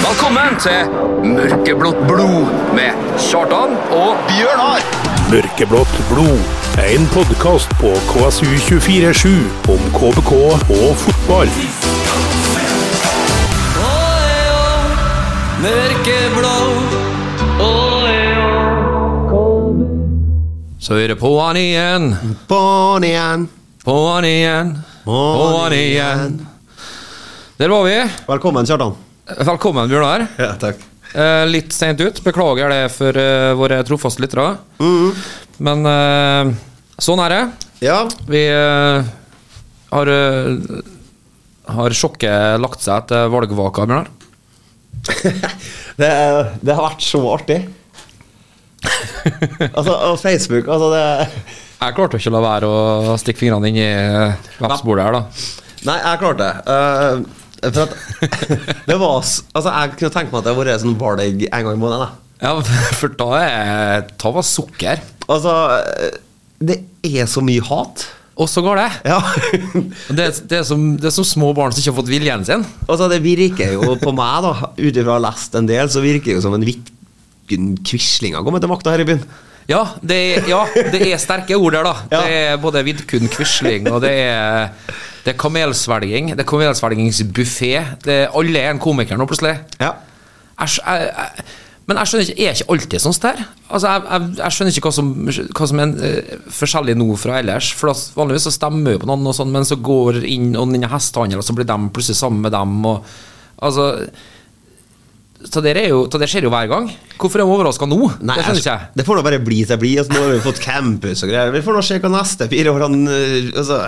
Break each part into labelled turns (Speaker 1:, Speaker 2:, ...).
Speaker 1: Velkommen til Mørkeblått blod med Kjartan og Bjørnar.
Speaker 2: Mørkeblått blod. En podkast på KSU247 om KBK og fotball.
Speaker 1: Så er det på'n igjen,
Speaker 3: På'n igjen.
Speaker 1: på'n igjen, på'n igjen. Der var vi.
Speaker 3: Velkommen, Kjartan.
Speaker 1: Velkommen, Bjørnar.
Speaker 3: Ja, takk.
Speaker 1: Eh, litt sent ut. Beklager det for eh, våre trofaste lyttere.
Speaker 3: Mm.
Speaker 1: Men eh, sånn er det.
Speaker 3: Ja.
Speaker 1: Vi eh, har eh, Har sjokket lagt seg etter valgvaka, Bjørnar?
Speaker 3: Det, det har vært så artig. altså, og Facebook altså det,
Speaker 1: Jeg klarte ikke å la være å stikke fingrene inn i eh, vepsbordet her, da.
Speaker 3: Nei, jeg klarte det. Eh, for at det var s- Altså, jeg kunne tenke meg at det hadde vært sånn valg en gang i måneden. da.
Speaker 1: Ja, for da er Da var sukker.
Speaker 3: Altså eh, Det er så mye hat.
Speaker 1: Og så går det.
Speaker 3: Ja.
Speaker 1: Det, er- det, er som, det er som små barn som ikke har fått viljen sin.
Speaker 3: altså, det virker jo på meg, da, ut ifra å ha lest en del, så virker det jo som en vikken quisling har kommet til makta her i byen.
Speaker 1: Ja, det er, ja, det er sterke ord der, da.
Speaker 3: Ja.
Speaker 1: Det er både vidkun quisling, og det er, det er kamelsvelging. Det er kamelsvelgingsbuffé. Alle er en komiker nå, plutselig.
Speaker 3: Ja.
Speaker 1: Jeg, skj- jeg, jeg, men jeg skjønner ikke, er ikke alltid sånn der? Altså, jeg, jeg, jeg skjønner ikke hva som, hva som er eh, forskjellig nå fra ellers. For da, Vanligvis så stemmer jo på noen, og sånn, men så går inn og den hestehandelen, og så blir de plutselig sammen med dem. Og, altså, så det, er jo, så det skjer jo hver gang. Hvorfor er de overraska nå?
Speaker 3: Nei,
Speaker 1: det skjønner ikke jeg.
Speaker 3: Det får da bare bli til bli. Altså, nå har vi fått campus og greier. Vi får nå se hva neste fire årene øh, Altså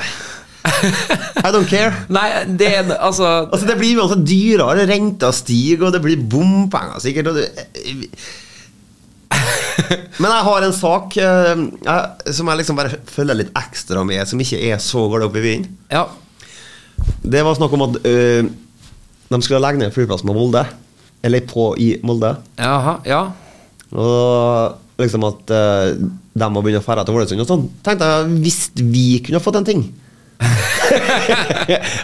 Speaker 3: I don't care.
Speaker 1: Nei, det er altså
Speaker 3: Altså Det blir uansett dyrere, renta stiger, og det blir bompenger sikkert. Og det, men jeg har en sak øh, jeg, som jeg liksom bare følger litt ekstra med, som ikke er så galt oppe i vinden.
Speaker 1: Ja.
Speaker 3: Det var snakk om at øh, de skulle legge ned flyplassen på Molde. Eller på i Molde.
Speaker 1: Jaha. Ja.
Speaker 3: Og liksom at eh, de må begynne å ferde til Ålesund og sånn. Tenkte jeg, hvis vi kunne fått en ting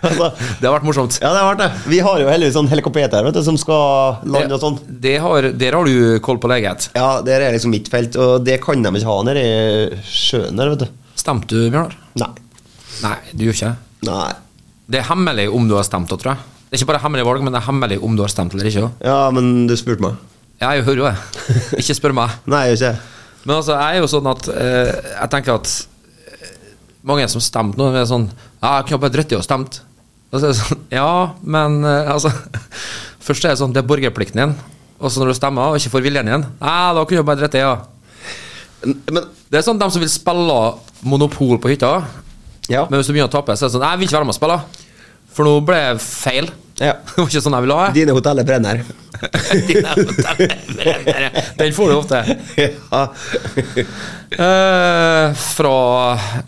Speaker 3: altså,
Speaker 1: Det har vært morsomt.
Speaker 3: Ja, det har vært det. Vi har jo heldigvis sånn helikopter vet du, som skal lande og sånn.
Speaker 1: Det, det har, der har du koll på legehet.
Speaker 3: Ja, det er liksom mitt felt, og det kan de ikke ha nede i sjøen der, vet du.
Speaker 1: Stemte du, Bjørnar?
Speaker 3: Nei.
Speaker 1: Nei, du gjorde ikke det.
Speaker 3: Nei.
Speaker 1: Det er hemmelig om du har stemt, da, tror jeg. Det er ikke bare hemmelig valg, men det er hemmelig om du har stemt eller ikke. da.
Speaker 3: Ja, men du spurte meg.
Speaker 1: Ja, jeg hører jo det. Ikke spør meg.
Speaker 3: Nei, jeg gjør ikke det.
Speaker 1: Men altså, jeg er jo sånn at eh, Jeg tenker at eh, mange som stemte nå, er sånn Ja, jeg kunne bare dritt i å stemt. Og så er det sånn Ja, men eh, altså Først er det sånn, det er borgerplikten din. Og så når du stemmer og ikke får viljen din, ja, da kunne du bare dritt i, ja.
Speaker 3: Men
Speaker 1: Det er sånn de som vil spille Monopol på hytta,
Speaker 3: ja.
Speaker 1: men hvis du begynner å tape, så er det sånn Jeg vil ikke være med og spille, for nå ble det feil.
Speaker 3: ja.
Speaker 1: Det var ikke sånn jeg ville ha det.
Speaker 3: Dine hoteller brenner.
Speaker 1: Den får du ofte.
Speaker 3: ja.
Speaker 1: Eh, fra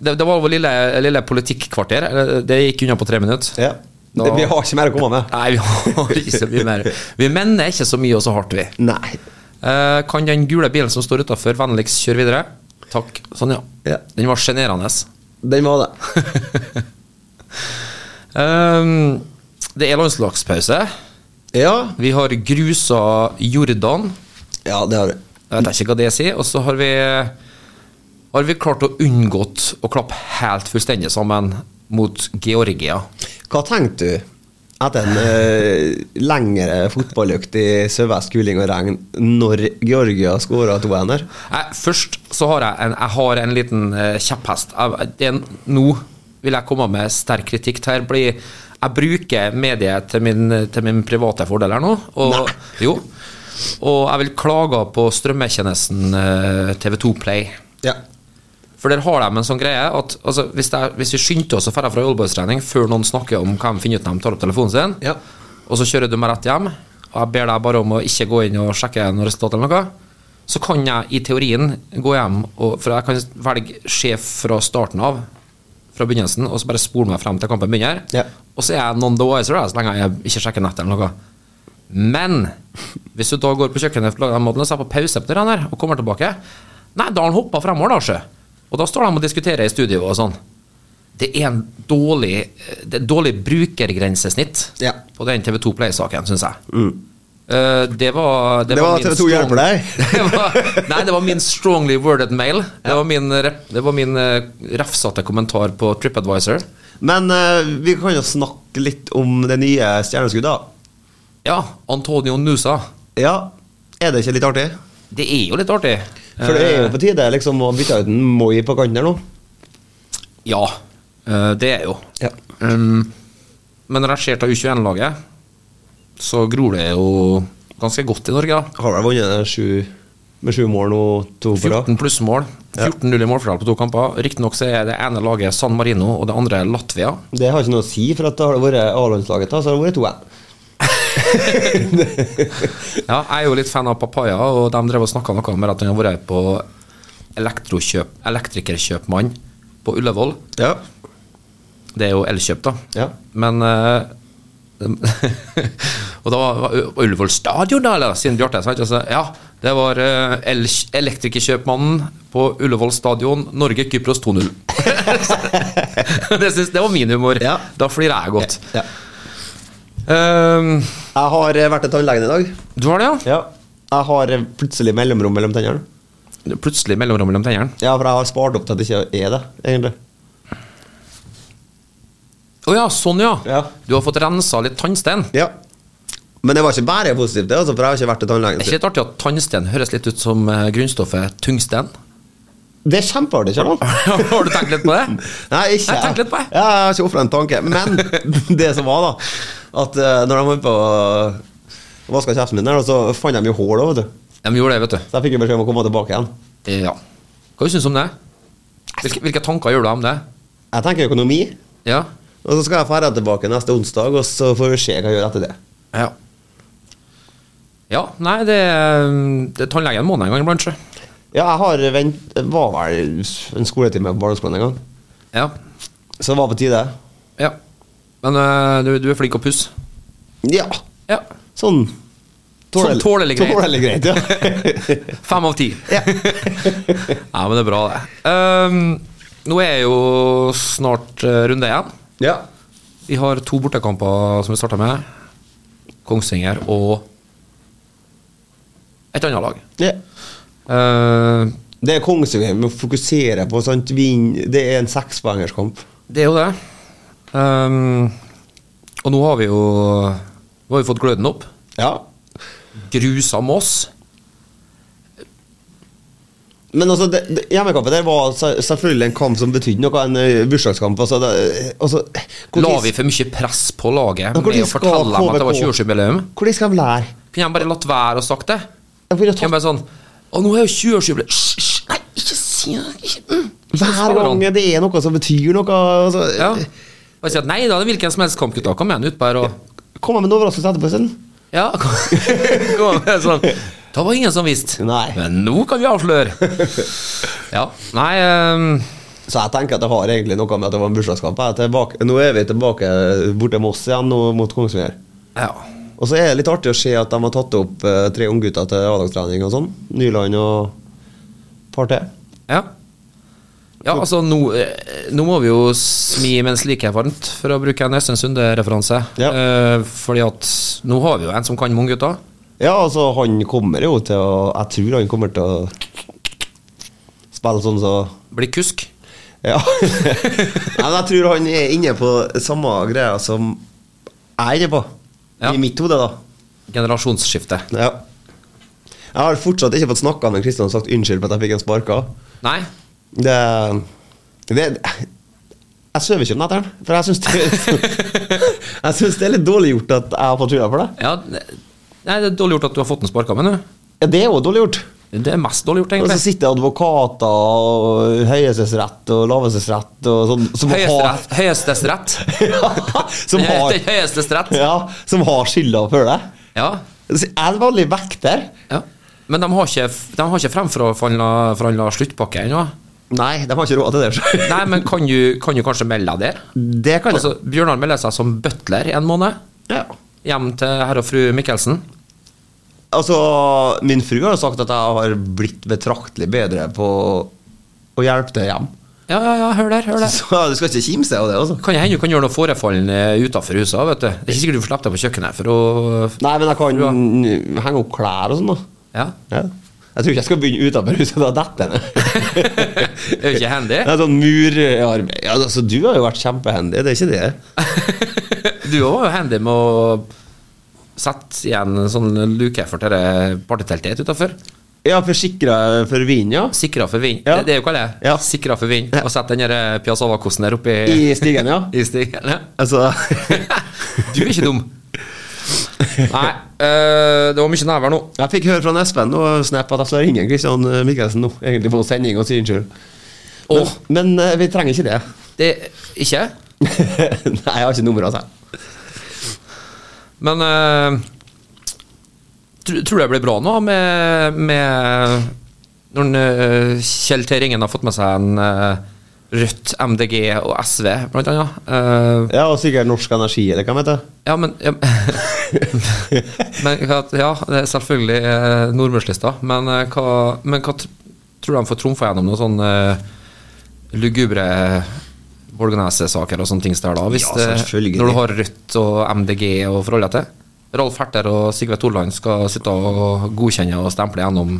Speaker 1: Det, det var vår lille, lille politikkvarter. Eh, Det gikk unna på tre minutter.
Speaker 3: ja. Det, vi har ikke mer å komme med.
Speaker 1: Nei, vi har ikke så mye mer. Vi mener ikke så mye og så hardt, vi.
Speaker 3: Nei.
Speaker 1: Eh, kan den gule bilen som står utafor, vennligst kjøre videre? Takk. Sånn, ja.
Speaker 3: Ja.
Speaker 1: Den var sjenerende.
Speaker 3: Den var det.
Speaker 1: Eh, det er landslagspause.
Speaker 3: Ja.
Speaker 1: Vi har grusa Jordan.
Speaker 3: Ja, det har du.
Speaker 1: Jeg vet ikke hva det sier. Og så har vi Har vi klart å unngått å klappe helt fullstendig sammen mot Georgia.
Speaker 3: Hva tenkte du etter en eh, lengre fotballøkt i sørvest, kuling og regn når Georgia skåra to hender?
Speaker 1: Jeg, først så har jeg en, jeg har en liten eh, kjepphest. Jeg, det er, en- nå vil jeg komme med sterk kritikk. til Her blir, jeg bruker mediet til min, til min private fordel her nå. Og, jo, og jeg vil klage på strømmetjenesten eh, TV2 Play.
Speaker 3: Ja.
Speaker 1: For der har de en sånn greie at altså, hvis, det er, hvis vi skyndte oss å dra fra Oldboys-trening før noen snakker om hva de finner ut når de tar opp telefonen sin,
Speaker 3: Ja.
Speaker 1: og så kjører du meg rett hjem, og jeg ber deg bare om å ikke gå inn og sjekke noe resultat eller noe, så kan jeg i teorien gå hjem, og, for jeg kan velge sjef fra starten av, fra begynnelsen, og så bare spole meg frem til kampen begynner,
Speaker 3: Ja.
Speaker 1: og så er jeg non the wiser da, så lenge jeg ikke sjekker nettet eller noe. Men hvis du da går på kjøkkenet på den måten og ser på pause på den her, og kommer tilbake Nei, da har han hoppa fremover, da, sjø. Og da står de og diskuterer i studio og sånn. Det er en dårlig, det er et dårlig brukergrensesnitt
Speaker 3: Ja. Mm.
Speaker 1: på den TV2 Play-saken, syns jeg. Eh, det var
Speaker 3: Det var TV 2 hjelper deg.
Speaker 1: Det var- Nei, det var min strongly worded mail. Det var min, rep- det var min eh, refsete kommentar på TripAdvisor.
Speaker 3: Men eh, vi kan jo snakke litt om det nye stjerneskuddet. da.
Speaker 1: Ja, Antonio Nusa.
Speaker 3: Ja, er det ikke litt artig?
Speaker 1: Det er jo litt artig. Eh,
Speaker 3: For det er jo på tide liksom å bytte ut en Moi på kanten her nå.
Speaker 1: Ja, eh, det er jo.
Speaker 3: Ja.
Speaker 1: Um, men rasjert av U21-laget, så gror det jo ganske godt i Norge. da
Speaker 3: Har vel vunnet sju, med sju mål nå, to på rad.
Speaker 1: 14 plussmål. 14-0 i målforhold på to kamper. Riktignok så er det ene laget San Marino, og det andre Latvia.
Speaker 3: Det har ikke noe å si, for at da har det vært A-landslaget, da, så har det vært to N.
Speaker 1: Ja, jeg er jo litt fan av Papaya, og de drev og snakka noe om at han har vært på elektrokjøp, elektrikerkjøpmann på Ullevål.
Speaker 3: Ja.
Speaker 1: Det er jo elkjøp, da.
Speaker 3: Ja.
Speaker 1: Men eh, Og da var var Ullevål stadion, da, eller? Siden Bjarte sa ikke Ja, det var eh, el elektrikerkjøpmannen på Ullevål stadion, Norge-Kypros 2-0. det, synes, det var min humor.
Speaker 3: Ja.
Speaker 1: Da flirer jeg godt.
Speaker 3: ja.
Speaker 1: Ehm,
Speaker 3: Jeg har eh, vært til tannlegen i dag.
Speaker 1: du har det, ja?
Speaker 3: Ja. Jeg har eh, plutselig mellomrom mellom tennene.
Speaker 1: Plutselig mellomrom mellom tennene.
Speaker 3: Ja, for jeg har spart opp til at det ikke er det, egentlig.
Speaker 1: Å ja, sånn ja.
Speaker 3: Ja.
Speaker 1: Du har fått rensa litt tannstein.
Speaker 3: Ja. Men det var ikke bare positivt, det, altså, for jeg har ikke vært til tannlegen.
Speaker 1: Er ikke det artig at tannstein høres litt ut som eh, grunnstoffet tungsten?
Speaker 3: Det er kjempeartig, kjære.
Speaker 1: har du tenkt litt på det?
Speaker 3: Nei, ikke
Speaker 1: Jeg tenkte litt på det.
Speaker 3: Ja, jeg har ikke ofra en tanke. Men det som var, da, at eh, når de var på og vaska kjeften min, der, da, så fant de jo hull òg, vet du.
Speaker 1: De gjorde det, vet du.
Speaker 3: Så jeg fikk jo beskjed om å komme tilbake igjen.
Speaker 1: Eh, Ja. Hva syns du om det? Hvilke, hvilke tanker gjør du deg om det?
Speaker 3: Jeg tenker økonomi,
Speaker 1: Ja.
Speaker 3: og så skal jeg ferde tilbake neste onsdag, og så får vi se hva jeg gjør etter det.
Speaker 1: Ja. ja nei, det, eh, det Tannlegen må nå en gang iblant, sjø.
Speaker 3: Ja, jeg har vent... Det var vel en skoletime på barneskolen en gang,
Speaker 1: Ja.
Speaker 3: så det var på tide.
Speaker 1: ja. Men eh, du, du er flink å pusse.
Speaker 3: Ja,
Speaker 1: Ja.
Speaker 3: sånn
Speaker 1: Sånn tålelig greit.
Speaker 3: Tålelig greit, ja.
Speaker 1: Fem av ti.
Speaker 3: ja.
Speaker 1: Ja, men det er bra, det. Ehm, nå er jo snart eh, runde én.
Speaker 3: ja.
Speaker 1: Vi har to bortekamper som vi starter med. Kongsvinger og et annet lag.
Speaker 3: ja.
Speaker 1: Eh,
Speaker 3: Det er Kongsvinger vi fokuserer på. Sant? Vinn, det er en sekspoengerskamp.
Speaker 1: det er jo det. Ehm, og nå har vi jo Nå har vi fått gløden opp.
Speaker 3: Ja.
Speaker 1: Grusa Moss.
Speaker 3: Men altså, det, det, hjemmekampen der var se- selvfølgelig en kamp som betydde noe. En eh, bursdagskamp. Altså, det, altså, hvor
Speaker 1: La
Speaker 3: tid-
Speaker 1: vi for mye press på laget
Speaker 3: Men hvor
Speaker 1: med
Speaker 3: tid
Speaker 1: å
Speaker 3: skal
Speaker 1: fortelle dem at det var
Speaker 3: KBK?
Speaker 1: 20-årsjubileum?
Speaker 3: Hvor tid skal de lære?
Speaker 1: Kunne de bare latt være å sagt det?
Speaker 3: De kunne
Speaker 1: Kunne
Speaker 3: tatt
Speaker 1: bare sånn Å, nå er jo 20-årsjubileum Hysj, hysj, Nei, ikke si det! Ikke, mm, ikke
Speaker 3: Hver
Speaker 1: spillerne.
Speaker 3: gang det er noe som betyr noe. Altså,
Speaker 1: Ja. Bare si at nei da, det er hvilken som helst kamp, gutta. Kom igjen, ut bare og
Speaker 3: Kom med en overraskelse etterpå. Sånn.
Speaker 1: Ja, kom, kom det er sånn. Da var ingen som visste.
Speaker 3: Nei.
Speaker 1: Men nå kan vi avsløre. Ja, nei ehm,
Speaker 3: Så jeg tenker at det har egentlig noe med at det var en bursdagskamp. Jeg er tilbake- Nå er vi tilbake borte Moss igjen nå mot Kongsvinger.
Speaker 1: Ja.
Speaker 3: Og så er det litt artig å se at de har tatt opp eh, tre unggutter til A-lagstrening og sånn. Nyland og par til.
Speaker 1: Ja, ja altså nå, eh, nå må vi jo smi mens liket er varmt, for å bruke en Øystein Sunde-referanse.
Speaker 3: Ja.
Speaker 1: Eh, fordi at nå har vi jo en som kan mange gutter.
Speaker 3: Ja, altså, han kommer jo til å Jeg tror han kommer til å spille sånn så
Speaker 1: Blir kusk.
Speaker 3: Ja. Nei, men jeg tror han er inne på samme greia som jeg er inne på.
Speaker 1: Ja.
Speaker 3: I mitt hode, da.
Speaker 1: Generasjonsskifte.
Speaker 3: Ja. Jeg har fortsatt ikke fått snakka med Kristian og sagt unnskyld for at jeg fikk en sparka.
Speaker 1: Nei?
Speaker 3: Det, det Jeg sover ikke om nettene, for jeg syns det, jeg synes det er litt dårlig gjort at jeg har fått skylda for det.
Speaker 1: Ja, ne- nei, det er dårlig gjort at du har fått den sparka, men du.
Speaker 3: Ja, det er jo dårlig gjort.
Speaker 1: Det er mest dårlig gjort,
Speaker 3: Og så
Speaker 1: egentlig.
Speaker 3: sitter advokater og høyesterettsrett og lavestedsrett og sånn som har
Speaker 1: Høyesterett. Høyestesterett.
Speaker 3: som har,
Speaker 1: Høyestesterett.
Speaker 3: ja, som har skylda for det.
Speaker 1: Ja.
Speaker 3: Så Jeg er en vanlig vekter.
Speaker 1: ja. Men de har ikke, de har ikke fremforhandla sluttpakke ennå.
Speaker 3: Nei, de har ikke råd til det. så-
Speaker 1: Nei, men kan du, kan du kanskje melde deg der?
Speaker 3: Det kan jeg.
Speaker 1: Altså, Bjørnar melder seg som butler en måned.
Speaker 3: ja.
Speaker 1: Hjem til herr og fru Mikkelsen.
Speaker 3: altså, min fru har jo sagt at jeg har blitt betraktelig bedre på å hjelpe til hjem.
Speaker 1: Ja, ja, ja, hør der, hør der.
Speaker 3: Så du skal ikke kimse av det, altså.
Speaker 1: Kan jo hende du kan gjøre noe forefallende utenfor huset. vet du. Det er ikke sikkert du får slippe deg på kjøkkenet. for å...
Speaker 3: Nei, men jeg kan henge opp klær og sånn, da.
Speaker 1: Ja.
Speaker 3: Ja. Jeg tror ikke jeg skal begynne utenfor huset, da detter jeg ned.
Speaker 1: Det er jo ikke handy.
Speaker 3: Det er sånn murarbeid ja, altså, Du har jo vært kjempehandy, det er ikke det?
Speaker 1: Du òg var jo handy med å sette igjen en sånn luke for dette partyteltet utafor.
Speaker 3: Ja, forsikra for vin, ja.
Speaker 1: Sikra for vind.
Speaker 3: Ja.
Speaker 1: Det, det er jo hva det er.
Speaker 3: Ja.
Speaker 1: Sikra for vind. Og sette den der Piazza Vacosen der oppi
Speaker 3: I stigen, ja.
Speaker 1: i stigen. Ja.
Speaker 3: Altså
Speaker 1: Du er ikke dum. Nei, øh, det var mye nærvær nå.
Speaker 3: Jeg fikk høre fra Espen og Snap at jeg skal ringe Christian eh, Mikkelsen nå, egentlig på sending og si unnskyld. Men,
Speaker 1: Åh.
Speaker 3: men eh, vi trenger ikke det.
Speaker 1: Det ikke?
Speaker 3: Nei, jeg har ikke nummeret altså. hans. jeg.
Speaker 1: Men øh, tr- tror du det blir bra nå med, med Når en, øh, Kjell T. Ringen har fått med seg en øh, Rødt, MDG og SV, blant annet. Øh,
Speaker 3: Ja, og sikkert Norsk Energi, eller hva heter det?
Speaker 1: Ja, men ja, men hva- Ja, det er selvfølgelig eh, nordmørslista, men eh, hva, men hva tr- tror du de får trumfa gjennom noen sånne eh, lugubre Borgenese-saker og sånne ting der, da? Hvis
Speaker 3: Ja,
Speaker 1: det-
Speaker 3: selvfølgelig.
Speaker 1: når du har Rødt og MDG å forholde deg til? Ralf Herter og Sigve Torland skal sitte og godkjenne og stemple gjennom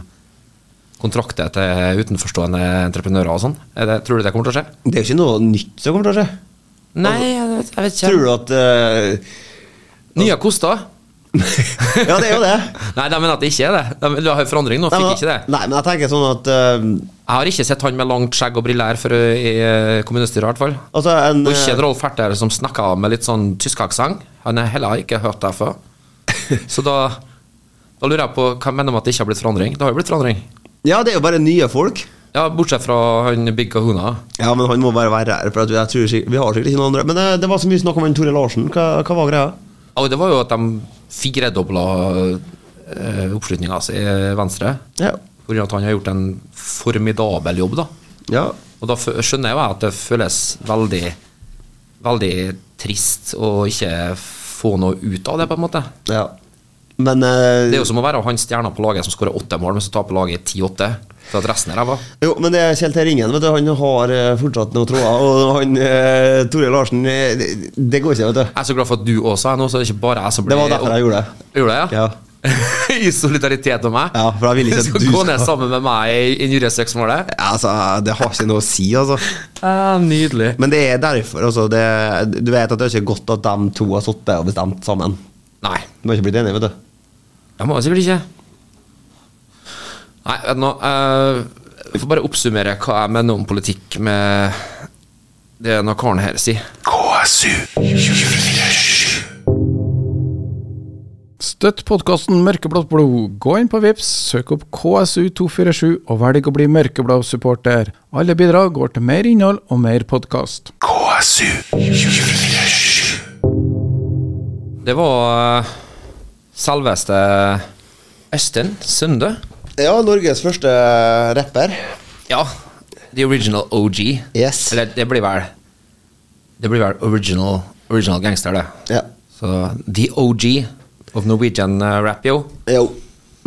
Speaker 1: kontrakter til utenforstående entreprenører og sånn? Er det- Tror du det kommer til å skje?
Speaker 3: Det er jo ikke noe nytt som kommer til å skje.
Speaker 1: Nei, jeg vet, jeg vet ikke.
Speaker 3: Tror du at eh,
Speaker 1: Nye koster?
Speaker 3: Ja, det er jo det.
Speaker 1: Nei, de mener at det ikke er det. De vil ha forandring nå, fikk
Speaker 3: men-
Speaker 1: ikke det.
Speaker 3: Nei, men jeg tenker sånn at eh,
Speaker 1: Jeg har ikke sett han med langt skjegg og briller for ø, i ø, kommunestyret, i hvert fall.
Speaker 3: Altså, en
Speaker 1: Og ikke
Speaker 3: eh,
Speaker 1: en Rolf Herter som snakker med litt sånn tysk aksent. Han har heller ikke hørt det før. Så da, da lurer jeg på hva mener de at det ikke har blitt forandring? Det har jo blitt forandring.
Speaker 3: Ja, det er jo bare nye folk.
Speaker 1: Ja, bortsett fra han Big Kahuna.
Speaker 3: Ja, men han må bare være her, for at jeg tror ikke, vi har sikkert ikke noen andre. Men eh, det var så mye snakk om han Tore Larsen. Hva, hva var greia?
Speaker 1: Og det var jo at de firedobla ø, oppslutninga si i Venstre.
Speaker 3: Ja.
Speaker 1: Pga. at han har gjort en formidabel jobb, da.
Speaker 3: ja.
Speaker 1: Og da fø- skjønner jeg jo at det føles veldig Veldig trist å ikke få noe ut av det, på en måte.
Speaker 3: ja. Men eh,
Speaker 1: Det er jo som å være han stjerna på laget som skårer åtte mål, men så taper laget 10-8. For at resten er ræva.
Speaker 3: Jo, men det er Kjell T. Ringen, vet du, han har eh, fortsatt noen tråder. Og han eh, Tore Larsen eh, det, det går ikke, vet du.
Speaker 1: Jeg er så glad for at du også sa det nå, så det er ikke bare jeg som
Speaker 3: Det
Speaker 1: blir
Speaker 3: var derfor jeg gjorde det.
Speaker 1: Gjorde det, ja?
Speaker 3: Ja.
Speaker 1: I solidaritet med meg?
Speaker 3: Ja, for jeg vil ikke at
Speaker 1: skal
Speaker 3: du
Speaker 1: gå
Speaker 3: skal-
Speaker 1: ned sammen med meg i- i juryseksmålet?
Speaker 3: Altså, det har ikke noe å si, altså.
Speaker 1: Ja, nydelig.
Speaker 3: Men det er derfor, altså. Det, du vet at det er ikke godt at de to har sittet og bestemt sammen.
Speaker 1: Nei,
Speaker 3: De har ikke blitt enige, vet du.
Speaker 1: jeg må sikkert ikke. Nei, vet du nå eh, Jeg får bare oppsummere hva jeg mener om politikk med det denne karen her sier.
Speaker 2: KSU.
Speaker 4: Støtt podkasten Mørkeblått blod. Gå inn på Vips, søk opp KSU247 og velg å bli mørkeblå supporter. Alle bidrag går til mer innhold og mer podkast.
Speaker 2: KSU.
Speaker 1: Det var eh, selveste Øystein Sunde.
Speaker 3: Ja, Norges første rapper.
Speaker 1: Ja, the original OG.
Speaker 3: Yes.
Speaker 1: Eller det blir vel Det blir vel original, original gangster, det.
Speaker 3: Ja.
Speaker 1: Så the OG of Norwegian eh, rap, yo.
Speaker 3: Jo.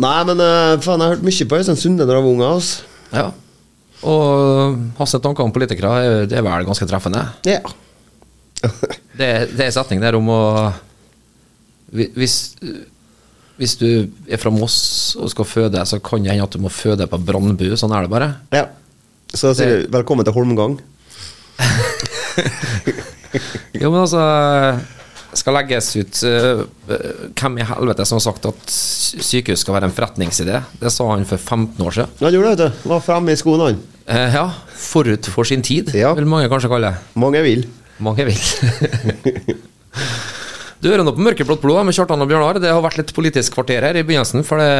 Speaker 3: Nei, men eh, faen, jeg har hørt mye på Øystein Sunde da jeg var ung. Altså.
Speaker 1: Ja. Og hans tanker om politikere er- det er vel ganske treffende.
Speaker 3: Ja.
Speaker 1: Det, det er en setning der om å hvi- Hvis, hvis du er fra Moss og skal føde, så kan det hende at du må føde på Brandbu. Sånn er det bare.
Speaker 3: ja. Så sier du velkommen til Holmgang.
Speaker 1: Jo, men altså Skal legges ut eh, Hvem i helvete som har sagt at sy- sykehus skal være en forretningsidé? Det sa han for 15 år siden.
Speaker 3: Han gjorde det, vet du. Var fremme i skoene, han.
Speaker 1: Eh, ja. Forut for sin tid,
Speaker 3: Ja.
Speaker 1: vil mange kanskje kalle det.
Speaker 3: Mange vil.
Speaker 1: Mange vil. Du hører nå på Mørkeblått blod med Kjartan og Bjørnar. Det har vært litt politisk kvarter her i begynnelsen, for det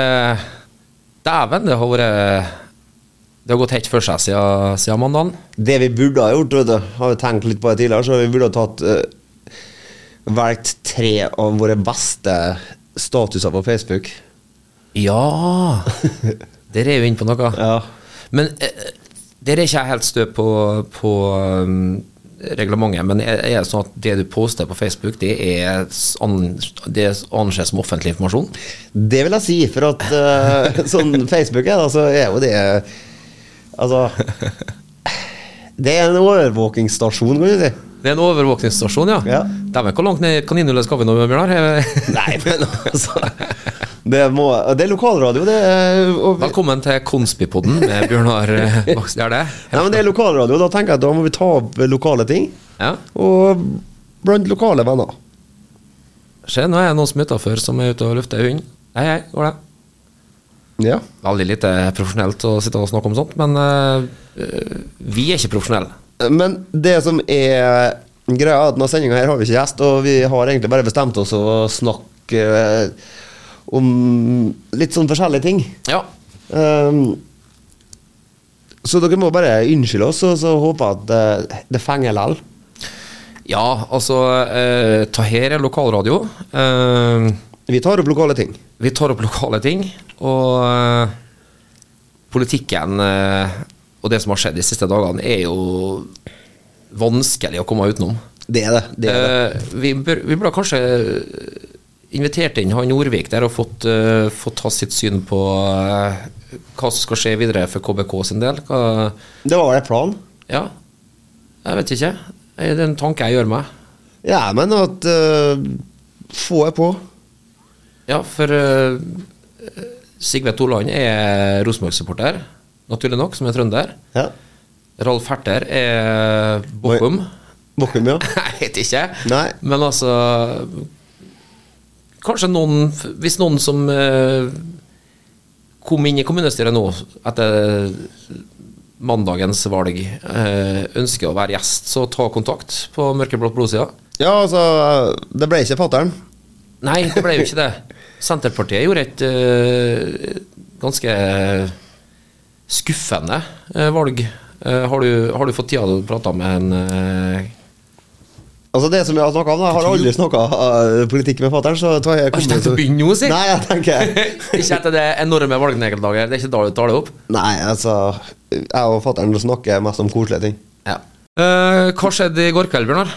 Speaker 1: Dæven, det har vært Det har gått helt for seg siden, siden mandagen.
Speaker 3: Det vi burde ha gjort, vet du, har vi tenkt litt på det tidligere, så vi burde ha tatt eh, Valgt tre av våre beste statuser på Facebook.
Speaker 1: Ja! Der er jo inne på noe.
Speaker 3: Ja.
Speaker 1: Men eh, der er ikke jeg helt stø på, på um, reglementet, men er er det sånn at det du poster på Facebook, det er s- an, det anses som offentlig informasjon?
Speaker 3: Det vil jeg si, for at eh, sånn Facebook er, da, så er jo det Altså Det er en overvåkingsstasjon, kan du si.
Speaker 1: Det er en overvåkningsstasjon, ja.
Speaker 3: Ja.
Speaker 1: Dæven, hvor langt ned kaninhullet skal vi nå, Bjørnar?
Speaker 3: Nei, men altså Det, må, det er lokalradio, det. er- Og vi,
Speaker 1: Velkommen til Konspipodden med Bjørnar eh, Vaksdal. Er det?
Speaker 3: nei, men det er lokalradio, da tenker jeg at da må vi ta opp lokale ting.
Speaker 1: Ja.
Speaker 3: Og blant lokale venner.
Speaker 1: Se, nå er det noen som er utafor, som er ute og lufter hund. Hei, hei, går det?
Speaker 3: Ja.
Speaker 1: Veldig lite profesjonelt å sitte og snakke om sånt, men eh, eh, vi er ikke profesjonelle.
Speaker 3: Men det som er greia, er at denne sendinga her har vi ikke gjest, og vi har egentlig bare bestemt oss å snakke eh, om litt sånn forskjellige ting.
Speaker 1: Ja.
Speaker 3: Ehm, så dere må bare unnskylde oss, og så håper jeg at det, det fenger likevel.
Speaker 1: ja, altså eh, Ta her er lokalradio. Eh,
Speaker 3: Vi tar opp lokale ting.
Speaker 1: vi tar opp lokale ting, og eh, politikken eh, og det som har skjedd de siste dagene, er jo vanskelig å komme utenom.
Speaker 3: Det er det. det, er det.
Speaker 1: Eh, vi, bør, vi burde kanskje eh, invitert inn han Norvik der og fått, eh, fått ha sitt syn på eh, hva som skal skje videre for KBK sin del. Hva,
Speaker 3: det var vel en plan?
Speaker 1: ja, jeg vet ikke. Eh, Det er en tanke jeg gjør meg.
Speaker 3: Ja, men at eh, Få jeg på.
Speaker 1: Ja, for eh, Sigve Toland er Rosenborg-supporter, naturlig nok, som er trønder.
Speaker 3: Ja.
Speaker 1: Ralf Herter er Bochum.
Speaker 3: Bokkum, ja.
Speaker 1: Jeg vet ikke.
Speaker 3: Nei.
Speaker 1: Men altså Kanskje noen Hvis noen som eh, kom inn i kommunestyret nå etter mandagens valg, eh, ønsker å være gjest, så ta kontakt på mørkeblått blodsida.
Speaker 3: Ja, altså Det ble ikke fatter'n.
Speaker 1: Nei, det ble jo ikke det. Senterpartiet gjorde et eh, ganske skuffende eh, valg. Eh, har, du, har du fått tida til å prate med en eh,
Speaker 3: Altså Det som jeg har snakka om, da, jeg har aldri snakka uh, politikk med fatter'n. Så tar jeg
Speaker 1: Har ikke tenkt å begynne nå, si.
Speaker 3: Nei, jeg tenker
Speaker 1: Ikke etter det enorme valgnegeldager. Det er ikke da du tar det opp.
Speaker 3: Nei, altså Jeg og fatter'n snakker mest om koselige ting.
Speaker 1: Eh, hva skjedde i går kveld, Bjørnar?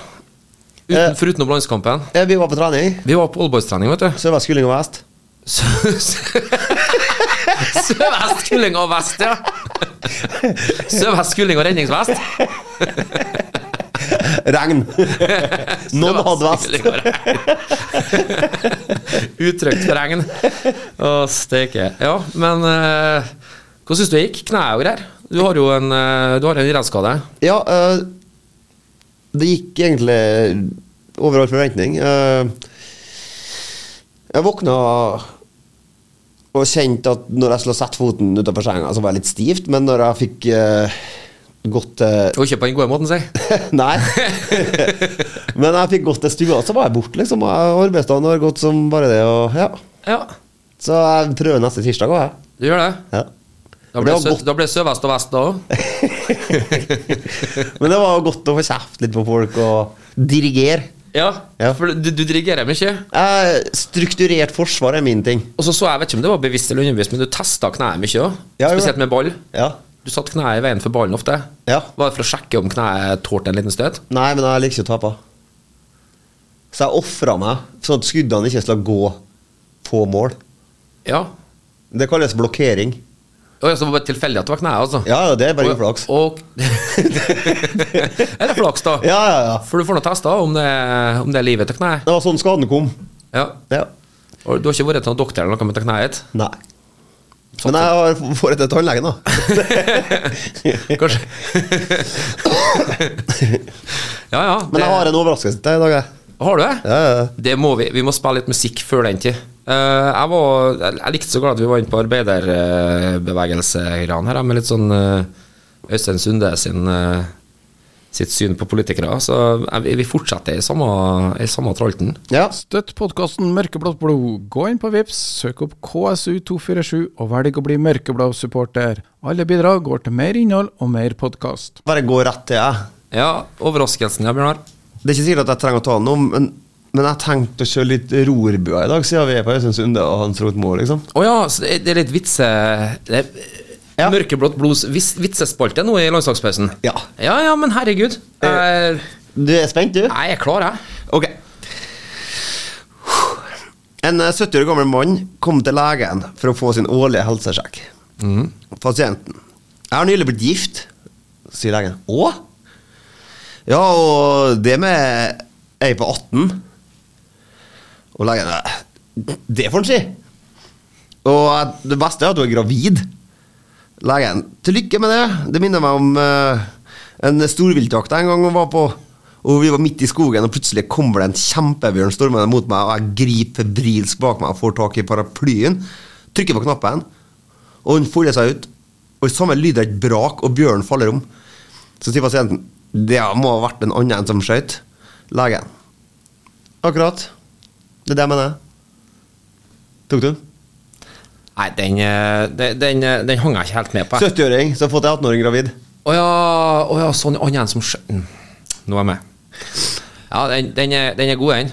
Speaker 1: Uten, forutenom landskampen.
Speaker 3: Eh, Vi var på trening.
Speaker 1: Vi var på oldboys-trening, vet du.
Speaker 3: Sørvest Kuling og Vest.
Speaker 1: Sø- sø- Sørvest kulling og vest, ja. Sørvest kulling og redningsvest.
Speaker 3: Regn. Noen hadde
Speaker 1: Sørvest
Speaker 3: vest.
Speaker 1: kulling og regn. Utrygt for regn. Å, steike. Ja, men eh, hva syns du det gikk? Kneet og greier? Du har jo en, eh, du har en idrettsskade.
Speaker 3: Ja, eh, det gikk egentlig over all forventning. Eh, jeg våkna og kjente at når jeg skulle sette foten utenfor senga, så var jeg litt stivt, men når jeg fikk eh, gått til
Speaker 1: Og ikke på den gode måten, si.
Speaker 3: Nei. men jeg fikk gått til stua, så var jeg borte, liksom. Og Arbeidsdagen har gått som bare det, og ja.
Speaker 1: Ja,
Speaker 3: Så jeg prøver neste tirsdag òg, jeg.
Speaker 1: du gjør det.
Speaker 3: Ja.
Speaker 1: Da
Speaker 3: Det
Speaker 1: ble,
Speaker 3: var
Speaker 1: sø,
Speaker 3: godt.
Speaker 1: da ble sørvest og vest da òg.
Speaker 3: Men det var jo godt å få kjeft litt på folk og dirigere.
Speaker 1: Ja,
Speaker 3: Ja.
Speaker 1: for du, du dirigerer mye.
Speaker 3: Eh, strukturert forsvar er min ting.
Speaker 1: Og så så jeg, vet ikke om det var bevisst eller underbevisst, men du testa kneet mye òg.
Speaker 3: Ja, jeg
Speaker 1: Spesielt
Speaker 3: gjorde.
Speaker 1: med ball.
Speaker 3: Ja.
Speaker 1: Du satte kneet i veien for ballen ofte.
Speaker 3: Ja.
Speaker 1: Var det for å sjekke om kneet tålte en liten støt?
Speaker 3: Nei, men jeg liker ikke å tape. Så jeg ofra meg, sånn at skuddene ikke skulle gå på mål.
Speaker 1: Ja.
Speaker 3: Det kalles blokkering.
Speaker 1: Og så var det bare tilfeldig at det var kneet, altså.
Speaker 3: Ja, ja, det er bare
Speaker 1: Og-
Speaker 3: uflaks.
Speaker 1: Og Eller flaks, da.
Speaker 3: Ja, ja, ja.
Speaker 1: For du får nå testa om, det- om det er livet til kneet.
Speaker 3: Det var sånn skaden kom.
Speaker 1: Ja.
Speaker 3: Ja.
Speaker 1: Og du har ikke vært til noen doktor eller noe med til kneet?
Speaker 3: Nei. Men jeg har får det til tannlegen, da.
Speaker 1: Kanskje? ja, ja.
Speaker 3: Men jeg har en overraskelse til deg i dag, jeg.
Speaker 1: Har du det?
Speaker 3: Ja, ja, ja.
Speaker 1: Det må vi. Vi må spille litt musikk før den tid. Eh, jeg, var, jeg jeg likte så godt at vi var inne på arbeiderbevegelsegreiene her, med litt sånn eh, Øystein Sunde sin, eh, sitt syn på politikere. Så eh, vi- vi fortsetter i samme, i samme tralten.
Speaker 3: Ja.
Speaker 4: Støtt podkasten Mørkeblått blod. Gå inn på Vips, søk opp KSU247 og velg å bli mørkeblå-supporter. Alle bidrag går til mer innhold og mer podkast.
Speaker 3: Bare gå rett til jeg.
Speaker 1: Ja, overraskelsen, ja, Bjørnar.
Speaker 3: Det er ikke sikkert at jeg trenger å ta den om, men, men jeg tenkte å kjøre litt rorbua i dag, siden vi er på Øystein Sunde og Hans Rotmo, liksom.
Speaker 1: Å ja, så det det er litt vitse... Det er
Speaker 3: Ja.
Speaker 1: Mørkeblått blods vis- vitsespalte nå i landslagspausen. Eh.
Speaker 3: Ja.
Speaker 1: ja, ja, men herregud. Jeg,
Speaker 3: Du er spent, du?
Speaker 1: jeg er klar, jeg.
Speaker 3: Ok. En eh, 70 år gammel mann kom til legen for å få sin årlige Mhm. helsesjekk. Pasienten. Jeg har nylig blitt gift, sier legen. Å? Ja, og det med ei på 18 Og legen «Nei, Det får han si. Og jeg- det beste er at hun er gravid. Legen til lykke med det. Det minner meg om eh, en storviltjakt jeg en gang var på. Og Vi var midt i skogen, og plutselig kommer det en kjempebjørn stormende mot meg. Og Jeg griper febrilsk bak meg og får tak i paraplyen. Trykker på knappen, og hun folder seg ut. Og i samme lyd er det et brak, og bjørnen faller om. Så sier pasienten det må ha vært en annen enn som skøyt. Legen. Akkurat. Det er det jeg mener. Tok du den?
Speaker 1: Nei, den, eh, den, den, eh, den hang jeg ikke helt med på. jeg.
Speaker 3: 70-åring som har fått ei 18-åring gravid.
Speaker 1: Å ja, å ja, sånn annen som skjø... Mm, Nå er jeg med. Ja, den, den, er, den er god, den.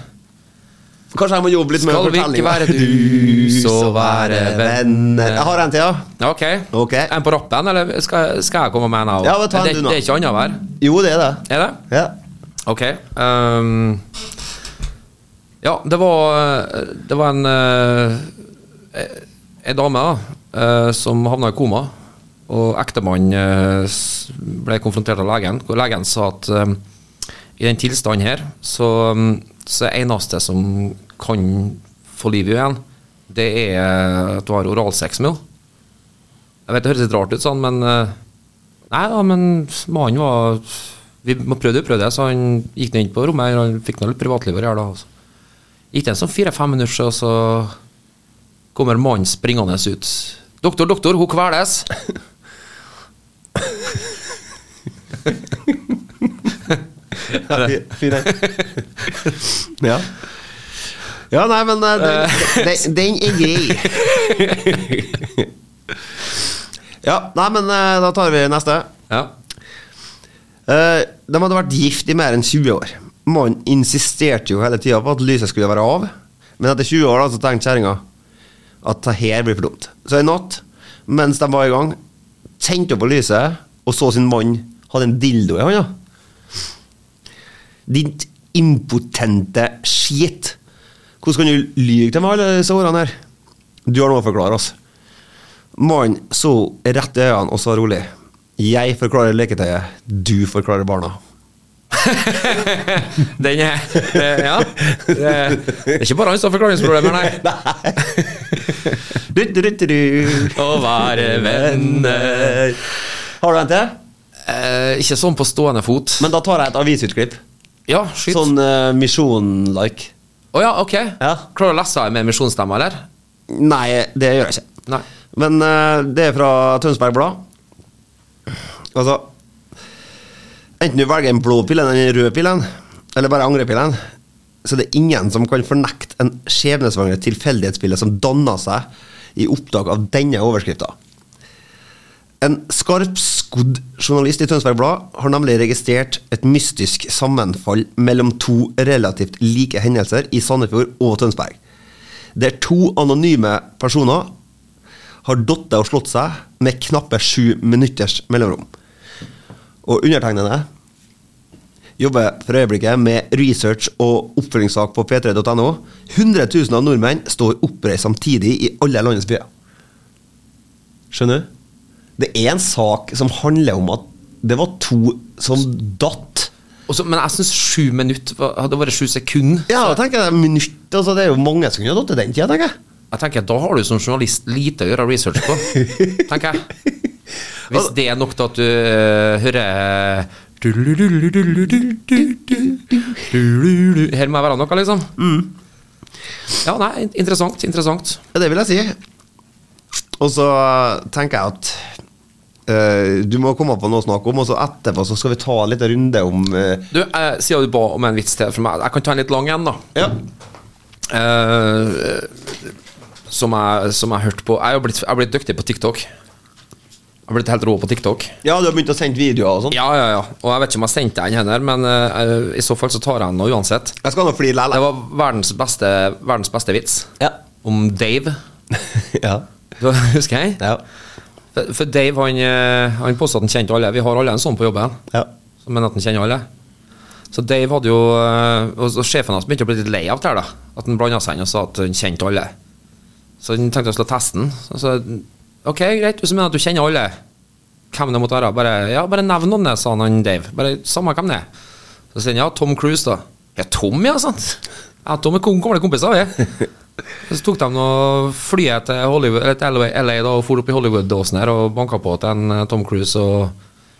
Speaker 3: Kanskje jeg må jobbe litt med
Speaker 1: Skal vi ikke
Speaker 3: fortellingen.
Speaker 1: være dus og være venner?
Speaker 3: Jeg har en til, ja.
Speaker 1: Ja, Ok.
Speaker 3: Ok.
Speaker 1: En på rappen, eller skal, skal jeg komme med en av?
Speaker 3: Ja, men ta en
Speaker 1: det,
Speaker 3: du nå.
Speaker 1: det er ikke annenhver,
Speaker 3: Jo, det er det.
Speaker 1: er det?
Speaker 3: Ja.
Speaker 1: Ok. ehm, ja, det var Det var en eh, Ei dame da, eh, som havna i koma. Og ektemannen eh, s- ble konfrontert av legen, hvor legen sa at eh, i den tilstanden her, så, mm, så er eneste som kan få liv i henne, det er eh, at du har oralsex med henne. Jeg vet det høres litt rart ut sånn, men eh, Nei da, men mannen var Vi må prøve det, prøve det, så han gikk ned inn på rommet. og Han fikk nå litt privatliv å gjøre, da. Altså. Gikk det en sånn fire-fem minutter, og så kommer mannen springende ut. 'Doktor, doktor, hun kveles'.
Speaker 3: Fy- Fin en. Ja. Ja, nei, men eh, den, den, den er grei. Ja, nei, men eh, da tar vi neste.
Speaker 1: Ja.
Speaker 3: Eh, De hadde vært gift i mer enn 20 år. Mannen insisterte jo hele tida på at lyset skulle være av, men etter 20 år da, så tenkte kjerringa at det her blir for dumt. Så en natt, mens de var i gang, tente hun på lyset og så sin mann hadde en dildo i hånda. Ditt impotente skit. Hvordan kan du lyge til meg alle disse årene her? Du har noe å forklare oss. Mannen så rett i øynene og sa rolig. Jeg forklarer leketøyet, du forklarer barna.
Speaker 1: Den er det- Ja. Det, det er ikke bare han som har forklaringsproblemer, nei.
Speaker 3: Du, du, du, du, du.
Speaker 1: Å være venner
Speaker 3: Venner. Har du en til?
Speaker 1: eh, Ikke sånn på stående fot.
Speaker 3: Men da tar jeg et avisutklipp.
Speaker 1: ja, skyt. Å
Speaker 3: Sånn eh, Misjon-like.
Speaker 1: ja, ok.
Speaker 3: Ja.
Speaker 1: Klarer du å lese med misjonsstemme, eller?
Speaker 3: Nei, det gjør jeg ikke.
Speaker 1: Nei.
Speaker 3: Men eh, det er fra Tønsberg Blad. Altså Enten du velger en blå pill eller en rød pill, eller bare angrepillen, så det er ingen som kan fornekte en skjebnesvanger tilfeldighetsbilde som danna seg i opptak av denne overskrifta. En skarpskodd journalist i Tønsberg Blad har nemlig registrert et mystisk sammenfall mellom to relativt like hendelser i Sandefjord og Tønsberg. Der to anonyme personer har datt og slått seg med knappe sju minutters mellomrom. Og undertegnede jobber for øyeblikket med research og oppfølgingssak på p3.no. 100 000 av nordmenn står oppreist samtidig i alle landets byer. Skjønner du? Det er en sak som handler om at det var to som datt.
Speaker 1: Og så- men jeg syns sju minutter var- Hadde vært sju sekunder.
Speaker 3: Ja, da tenker jeg minutt, altså Det er jo mange som kunne ha datt i den tida, tenker jeg.
Speaker 1: Jeg tenker, Da har du som journalist lite å gjøre research på, tenker jeg. Hvis det er nok til at du øh, hører du-lu-lu-lu-lu-lu-lu-lu-lu-lu. Her må jeg være noe, liksom. Ja, nei, in- interessant. Interessant.
Speaker 3: Ja, det vil jeg si. Og så tenker jeg at eh, du må komme på noe å snakke om, og så etterpå så skal vi ta en liten runde om eh,
Speaker 1: Du, eh, Siden du ba om en vits til fra meg, jeg kan ta en litt lang en, da.
Speaker 3: Ja.
Speaker 1: Eh, som jeg, som jeg hørte på Jeg har blitt, jeg har blitt dyktig på TikTok. Jeg har blitt helt rå på TikTok.
Speaker 3: ja, du har begynt å sende videoer og sånn?
Speaker 1: Ja, ja, ja. Og jeg vet ikke om jeg sendte den her, men eh, i så fall så tar jeg den nå uansett.
Speaker 3: Jeg skal nå flire
Speaker 1: Det
Speaker 3: likevel.
Speaker 1: var verdens beste, verdens beste vits
Speaker 3: Ja.
Speaker 1: om Dave.
Speaker 3: ja.
Speaker 1: Du husker jeg?
Speaker 3: Ja.
Speaker 1: For for Dave han, eh, han påstod at han kjente alle. Vi har alle en sånn på jobben,
Speaker 3: ja.
Speaker 1: men at han kjenner alle. Så Dave hadde jo eh, Og så sjefen hans begynte å bli litt lei av det her, da. At han blanda seg inn og sa at han kjente alle. Så han tenkte å slå testen. Så sa han, OK, greit, hvis du mener at du kjenner alle, hvem det måtte være, bare, ja, bare nevn noen, sa han, han Dave. Bare samme hvem det er. Så sier han ja, Tom Cruise, da. Ja, Tom, ja, sant? Ja, Tom er kom- gamle kompiser, vi. Så tok de nå flyet til, Hollywood, eller til LA, LA da, og for opp i Hollywood-dåsen her og banka på til en eh, Tom Cruise. Og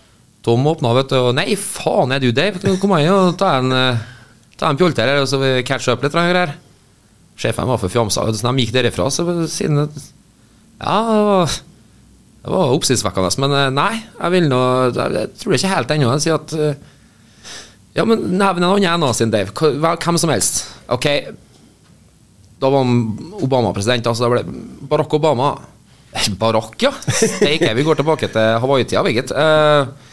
Speaker 1: Tom åpna, vet du, og nei, faen, er du Dave? Kom her og ta en, eh, ta en pjolte her, og så vi catcher up litt. og greier. Sjefen var for fjamsa, så de gikk derifra. Så siden Ja, det var det var oppsiktsvekkende, men eh, nei, jeg vil nå Jeg jeg tror ikke helt ennå. Jeg sier at eh, Ja, men nevn en annen enn sin, Dave. Hva- hva- Hvem som helst. Ok, da var han Obama president, altså. Da ble det Barack Obama. Barack, ja! Steike, vi går tilbake til Hawaii-tida, vi, gitt. Eh,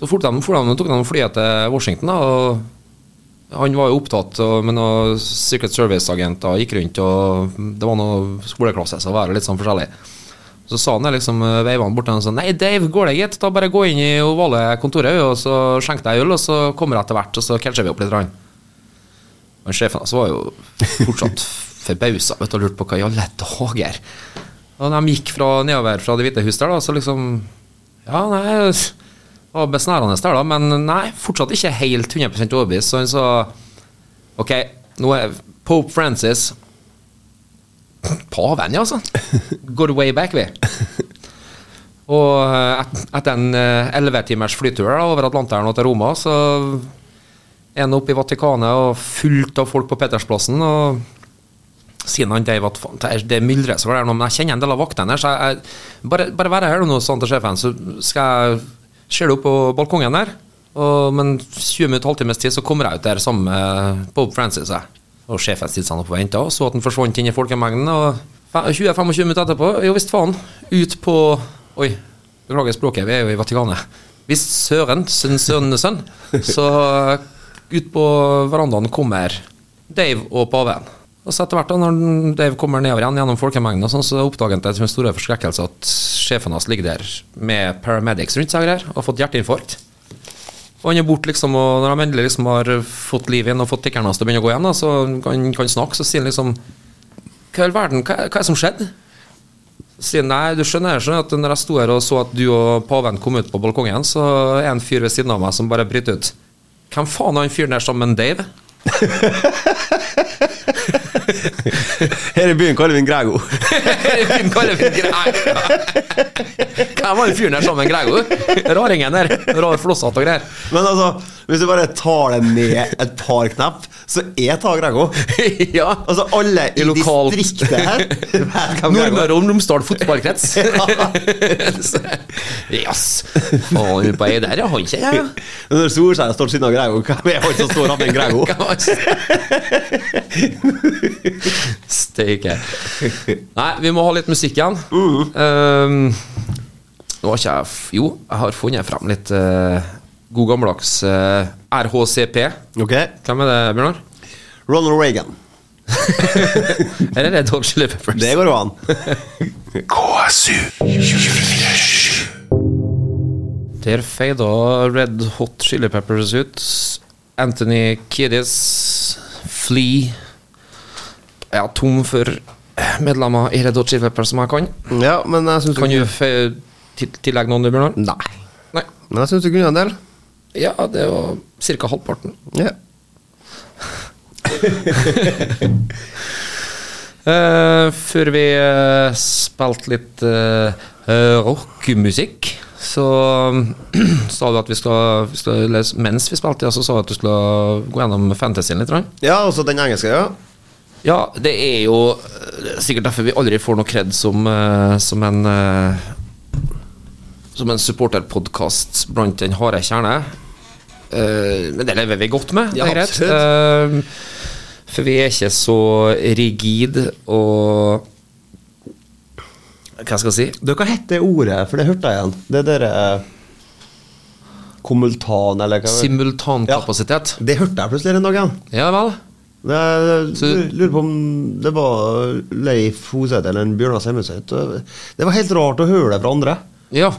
Speaker 1: Så fort de, for de, tok de flyet til Washington, da, og han var jo opptatt og, med noen Secret Service-agenter, gikk rundt, og det var noen skoleklasse, så var det litt sånn forskjellig. Så sa han det liksom, eh, veiva han bort til han og sa Nei, Dave, går det gitt? Da bare gå inn i ovale kontoret, og så skjenk deg øl, og så kommer jeg etter hvert, og så catcher vi opp litt. Rann. Men sjefen hans var jo fortsatt forbausa vet du, og lurte på hva i alle dager Og de gikk fra nedover fra Det hvite huset der, da, så liksom Ja, nei Det var besnærende der, da, men nei, fortsatt ikke helt 100 overbevist. Så han sa OK, nå er Pope Francis Paven, ja, altså. Går way back, vi. Og eh, et, etter en elleve-timers flytur da, over Atlanteren og til Roma, så er han oppe i Vatikanet og fullt av folk på Petersplassen. Og siden han Dave at faen, det er- det myldrer seg der nå, men jeg kjenner en del av vaktene her, så jeg, jeg bare, bare være her nå, sa han til sjefen, så skal jeg Ser du opp på balkongen der? Og, men 20 minutter, halvtimes tid, så kommer jeg ut der sammen med Pope Francis. Jeg. Og sjefen stilte seg opp og venta, og så at han forsvant inn i folkemengden. Og fe- 20-25 minutter etterpå, jo visst faen, ut på Oi, beklager språket, vi er jo i Vatikanet. Hvis søren, sønn, sønn, sønn, så ut på verandaen kommer Dave og paven. Og så etter hvert da, når Dave kommer nedover igjen gjennom folkemengden, og sånn, så oppdager han til sin store forskrekkelse at sjefen hans ligger der med paramedics rundt seg og greier, og har fått hjerteinfarkt. Og han er borte, liksom, og når de endelig liksom har fått liv igjen og fått tikkeren hans til å begynne å gå igjen, da, så han kan snakke, så sier han liksom Hva i all verden, hva, hva er det som skjedde? sier nei, du skjønner, jeg skjønner at når jeg sto her og så at du og paven kom ut på balkongen, så er en fyr ved siden av meg som bare bryter ut. Hvem faen er han fyren der sammen med Dave?
Speaker 3: Her i byen kaller vi en Grego.
Speaker 1: Hvem kaller vi Grego? Hvem var han fyren der sammen med Grego? Raringen der. Rar flosshatt og greier.
Speaker 3: Men altså, hvis du bare tar det ned et par knepp, så er ta Grego.
Speaker 1: ja.
Speaker 3: Altså, alle i,
Speaker 1: I lokal-
Speaker 3: distriktet her vet hvem Grego er.
Speaker 1: Nordmøre og Romsdal fotballkrets. Jøss. Faen, på ei der, ja. Han ikke jeg, ja.
Speaker 3: Men Når Solskjær står ved siden av Grego, hvem er han som står oppe i en Grego?
Speaker 1: Hva var det? Steike. Nei, vi må ha litt musikk igjen. Um, nå har ikke jeg f Jo, jeg har funnet frem litt eh, god gammeldags eh, RHCP.
Speaker 3: Ok,
Speaker 1: Hvem er det, Bjørnar?
Speaker 3: Ronald Reagan.
Speaker 1: Her er det Dodge Chili Peppers.
Speaker 3: Det går jo an.
Speaker 2: KSU 247.
Speaker 1: Der feida Red Hot Chili Peppers ut. Anthony Kiddis, Flea Jeg er tom for medlemmer i Red Hot Chili Peppers som jeg kan.
Speaker 3: Ja, men jeg syns
Speaker 1: Kan du fe- til- tillegge noen, du, Bjørnar?
Speaker 3: Nei.
Speaker 1: Nei.
Speaker 3: Men jeg syns du kunne en del.
Speaker 1: Ja, det var ca. halvparten.
Speaker 3: Ja.
Speaker 1: Eh, før vi eh, spilte litt eh, eh, rockemusikk, så sa du at vi skal, vi skal lese, Mens vi spilte, ja, så sa du at du skulle gå gjennom fantasyen litt. Rann.
Speaker 3: Ja, også den engelske, ja.
Speaker 1: Ja, det er jo det er sikkert derfor vi aldri får noe kred som, eh, som en eh, Som en supporterpodkast blant den harde kjerne. Eh, men det lever vi godt med, det
Speaker 3: Ja,
Speaker 1: er greit. Eh, for vi er ikke så rigid og Hva skal jeg si?
Speaker 3: Du, hva het det ordet? For det hørte jeg igjen. Det derre Komultan, eller hva
Speaker 1: Simultankapasitet.
Speaker 3: Det hørte jeg plutselig en dag igjen.
Speaker 1: Ja. vel.
Speaker 3: Det, det,
Speaker 1: Så-
Speaker 3: lurer på om det var Leif Hoseth eller en Bjørnar Semmeseth. Det var helt rart å høre det fra andre.
Speaker 1: Ja.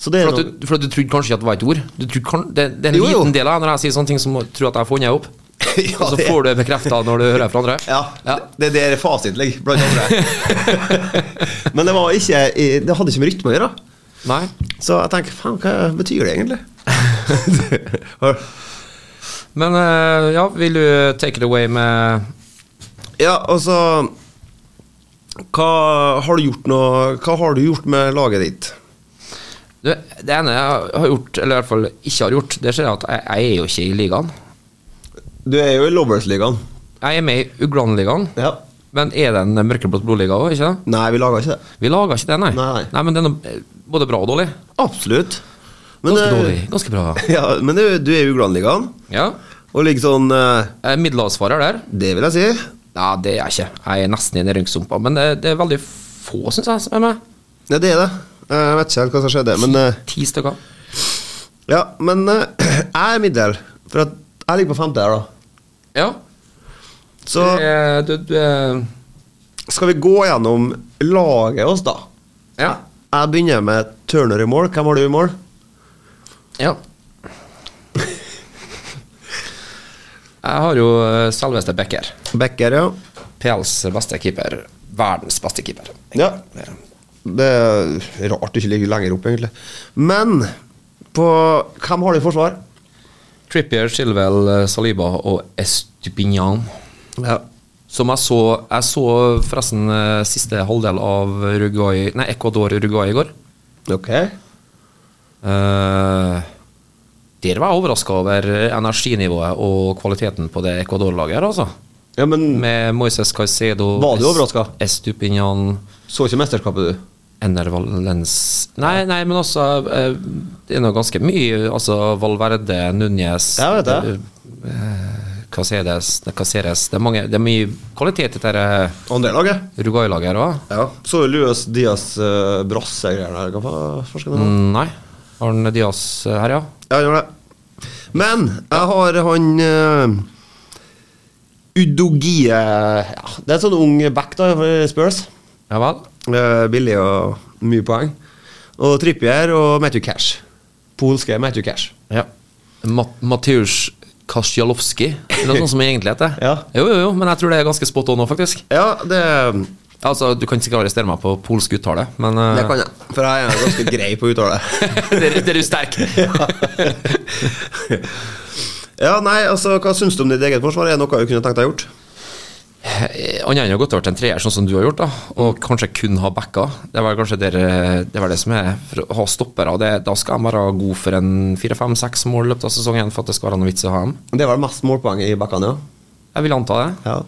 Speaker 3: Så det
Speaker 1: For
Speaker 3: er
Speaker 1: at,
Speaker 3: noe,
Speaker 1: du, for at du trodde kanskje ikke at det var et ord? Du trodde kan, det, det er en
Speaker 3: Jo, jo.
Speaker 1: liten del av når jeg sier sånne ting som tror at jeg har funnet opp.
Speaker 3: Ja,
Speaker 1: og så
Speaker 3: det-
Speaker 1: får du det bekrefta når du hører fra andre.
Speaker 3: ja,
Speaker 1: Ja.
Speaker 3: Det det er der fasit ligger, blant andre. Men det var ikke i- Det hadde ikke med rytme å gjøre.
Speaker 1: Nei.
Speaker 3: Så jeg tenker faen, hva betyr det egentlig? Har-
Speaker 1: Men eh, ja, vil du take it away med
Speaker 3: Ja, altså Hva har du gjort nå Hva har du gjort med laget ditt?
Speaker 1: du, Det ene jeg har gjort, eller i hvert fall ikke har gjort, det ser jeg at jeg, jeg er jo ikke i ligaen.
Speaker 3: Du er jo i Lovers-ligaen.
Speaker 1: Jeg er med i Uglan-ligaen,
Speaker 3: Ja.
Speaker 1: men er det en mørkeblått blodliga òg? Ikke det?
Speaker 3: Nei, vi laga ikke det.
Speaker 1: Vi lager ikke det, nei.
Speaker 3: Nei.
Speaker 1: men det er noe, eh, både bra og dårlig.
Speaker 3: Absolutt. Men,
Speaker 1: Ganske
Speaker 3: eh,
Speaker 1: dårlig. Ganske bra.
Speaker 3: Ja, men du, du er jo i Uglan-ligaen,
Speaker 1: Ja.
Speaker 3: og ligger sånn eh,
Speaker 1: Jeg er middelhavsfarer der.
Speaker 3: Det vil jeg si.
Speaker 1: Nei, det er jeg ikke. Jeg er nesten i nedrykkssumpa, men det, det er veldig få, syns jeg, som er med.
Speaker 3: Ja, det er det. Eh, Jeg vet ikke helt hva som skjedde, men eh,
Speaker 1: Ti stykker.
Speaker 3: Ja, men eh, jeg er middel, for at jeg ligger på femte her, da.
Speaker 1: Ja.
Speaker 3: Så
Speaker 1: Eh, Du, du er
Speaker 3: skal vi gå gjennom laget oss, da.
Speaker 1: Ja.
Speaker 3: Jeg begynner med Turner i mål. Hvem har du i mål?
Speaker 1: ja. Jeg har jo eh, selveste Becker.
Speaker 3: Becker, ja.
Speaker 1: PLs beste keeper. Verdens beste keeper.
Speaker 3: Ja. Det er rart du ikke ligger lenger opp, egentlig. Men på Hvem har du i forsvar?
Speaker 1: Trippier, Chilwell, eh, Saliba og Estupinian.
Speaker 3: Ja.
Speaker 1: Som jeg så Jeg så forresten eh, siste halvdel av Uruguay, nei, Ecuador Uruguay i går.
Speaker 3: Ok.
Speaker 1: Eh, der var jeg overraska over energinivået og kvaliteten på det Ecuador-laget her, altså.
Speaker 3: Ja, men
Speaker 1: Med Moises Caicedo
Speaker 3: Var du
Speaker 1: Es-
Speaker 3: overraska?
Speaker 1: Estupinian
Speaker 3: så ikke mesterskapet, du?
Speaker 1: Ener Valens Nei, nei, men også eh, Det er nå ganske mye Altså Valverde, Núñez
Speaker 3: Jeg vet det.
Speaker 1: eh, Caceres, Caceres. Det, er mange, det er mye kvalitet i dette eh,
Speaker 3: Andre laget?
Speaker 1: Uruguay-laget her òg.
Speaker 3: Ja. Så Lues Diaz uh, Brasse-greiene her. Hva fa- forskeren er det?
Speaker 1: Nei. Arne Diaz eh, her, ja.
Speaker 3: Ja, han gjør det. Men jeg har han uh, Udogie ja, Det er en sånn ung back da for Spurs.
Speaker 1: Ja vel.
Speaker 3: Eh, billig og mye poeng. Og Trippier og Matthew Cash. Polske Matthew Cash.
Speaker 1: Ja. Mat Mateusz Kasjalowski, eller noe sånt som egentlig heter.
Speaker 3: Ja.
Speaker 1: Jo, jo, jo, men jeg tror det er ganske spot on nå, faktisk.
Speaker 3: Ja, det,
Speaker 1: Altså, Du kan sikkert arrestere meg på polsk uttale, men eh,
Speaker 3: det kan jeg. For jeg er ganske grei på å uttale.
Speaker 1: der, der er du sterk.
Speaker 3: ja, nei, altså, Hva syns du om ditt eget forsvar? Er det noe du kunne tenkt deg gjort?
Speaker 1: Eh, Annet enn å ha gått over til en treer, sånn som du har gjort, da, og kanskje kun ha backa. Det var kanskje der, eh, det, var det som er for å ha stoppere. og Det, da skal de være god for en fire-fem-seks mål i løpet av sesongen for at det skal være noe vits i å ha dem.
Speaker 3: Det var mest målpoeng i backene,
Speaker 1: Jeg vil anta det.
Speaker 3: ja. ja.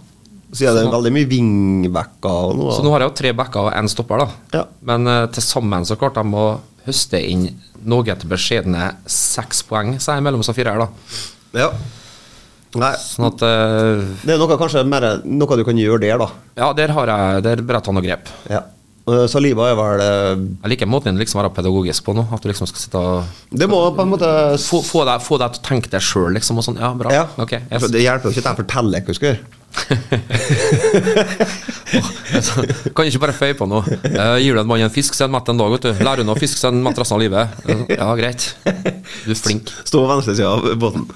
Speaker 3: Så er det veldig mye wingbacker og noe.
Speaker 1: Så nå har jeg jo tre backer og én stopper, da.
Speaker 3: Ja.
Speaker 1: Men eh, til sammen så klarte de å høste inn noe til beskjedne seks poeng, sier jeg mellom disse fire her, da.
Speaker 3: Ja. Nei,
Speaker 1: Sånn at eh,
Speaker 3: Det er noe, kanskje mer, noe du kan gjøre der, da.
Speaker 1: Ja, der har jeg Der bør jeg ta noe grep.
Speaker 3: Ja. Eh, Saliba er vel eh,
Speaker 1: Jeg liker måten den liksom er pedagogisk på nå. At du liksom skal sitte og
Speaker 3: Det må på en måte
Speaker 1: Få, få, deg, få deg til å tenke deg sjøl, liksom. Og sånn. Ja, bra.
Speaker 3: ja.
Speaker 1: Ok.
Speaker 3: For
Speaker 1: Yes.
Speaker 3: Det hjelper jo ikke at jeg forteller hva du skal gjøre.
Speaker 1: Altså, kan ikke bare føye på noe. Eh, gir du en mann en fisk, så er han mett en dag, vet du. Lærer unna fisk, så er han mett resten av livet. Eh, ja, greit. Du er flink.
Speaker 3: Stå på venstre side av båten.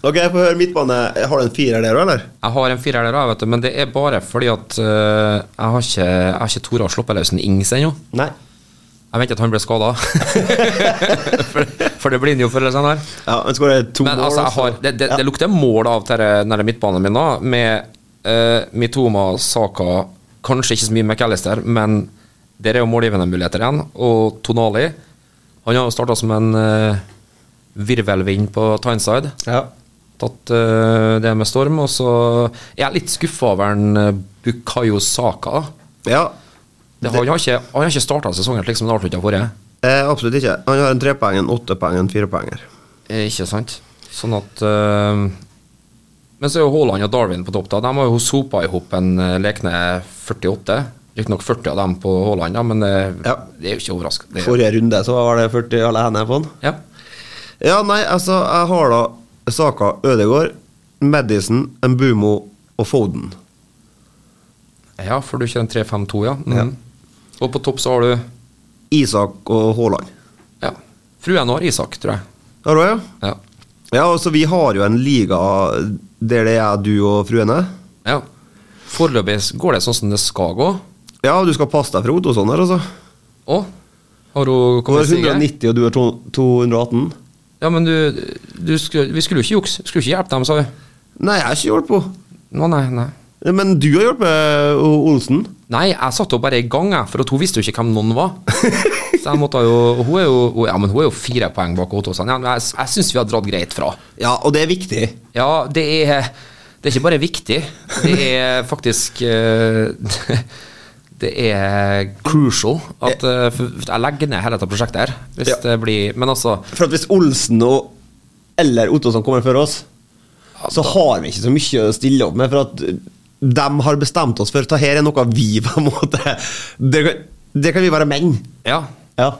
Speaker 3: ok, få høre midtbane. Har du en firer der òg, eller?
Speaker 1: Jeg har en firer der, også, vet du, men det er bare fordi at eh, jeg har ikke, jeg har ikke Tora Sloppelausen Ings ennå.
Speaker 3: Nei.
Speaker 1: Jeg venter at han blir skada, for, for det blir han jo før eller senere.
Speaker 3: Ja, Han skårer to
Speaker 1: Men
Speaker 3: mål.
Speaker 1: altså, jeg
Speaker 3: også.
Speaker 1: har, det, det,
Speaker 3: Ja.
Speaker 1: det lukter mål av eh, denne midtbanen min, da, med eh, Mitoma, Saka Kanskje ikke så mye McAllister, men der er jo målgivende muligheter igjen. Og Tonali Han har jo starta som en eh, virvelvind på Tyneside
Speaker 3: ja.
Speaker 1: tatt eh, det med storm. Og så er jeg litt skuffa over en eh, Bukayo Saka. da.
Speaker 3: ja.
Speaker 1: Det, han har ikke, han har ikke starta sesongen slik som han avslutta forrige.
Speaker 3: Eh, absolutt ikke. Han har en trepoeng, en åttepoeng, en firepoenger.
Speaker 1: Eh, Ikke sant? Sånn at eh, Men så er jo Haaland og Darwin på topp. da De har jo sopa i hop en eh, lekne 48. Riktignok 40 av dem på Haaland, da, men det,
Speaker 3: Ja.
Speaker 1: det er jo ikke overraskende.
Speaker 3: Forrige runde så var det 40 alle hendene på han.
Speaker 1: Ja.
Speaker 3: Ja, nei, altså, jeg har da Saka, Ødegaard, Madison, Mbumo og Foden.
Speaker 1: ja, for du kjører en 3-5-2, ja. Mm. Og på topp så har du
Speaker 3: Isak og Haaland.
Speaker 1: Ja. Fruen har Isak, tror jeg.
Speaker 3: Har du det, ja?
Speaker 1: Ja.
Speaker 3: Ja, altså vi har jo en liga der det er du og fruene.
Speaker 1: ja. Foreløpig går det sånn som det skal gå.
Speaker 3: Ja, du skal passe deg for Ottosson her, altså.
Speaker 1: Å? Har hun
Speaker 3: sånn Du har
Speaker 1: kommet i
Speaker 3: 190, og du har to- 218.
Speaker 1: Ja, men du, du skulle, Vi skulle jo ikke jukse. Skulle ikke hjelpe dem, sa vi.
Speaker 3: Nei, jeg har ikke hjulpet henne.
Speaker 1: Nå, nei, nei.
Speaker 3: Men du har hjulpet eh, Olsen.
Speaker 1: Nei, jeg satte opp bare i gang, jeg, for at hun visste jo ikke hvem noen var. Så jeg måtte jo, hun er jo, hun, ja, men hun er jo fire poeng bak Ottosen. Ja, men jeg jeg syns vi har dratt greit fra.
Speaker 3: Ja, og det er viktig.
Speaker 1: Ja, det er, det er ikke bare viktig, det er faktisk eh, Det er crucial at eh, for- for jeg legger ned hele dette prosjektet her. Hvis
Speaker 3: Ja.
Speaker 1: det blir Men altså
Speaker 3: For at hvis Olsen og eller Ottosson kommer før oss, så har vi ikke så mye å stille opp med. For at de har bestemt oss for at her er noe vi på en måte Det kan, det kan vi være menn.
Speaker 1: Ja.
Speaker 3: Ja.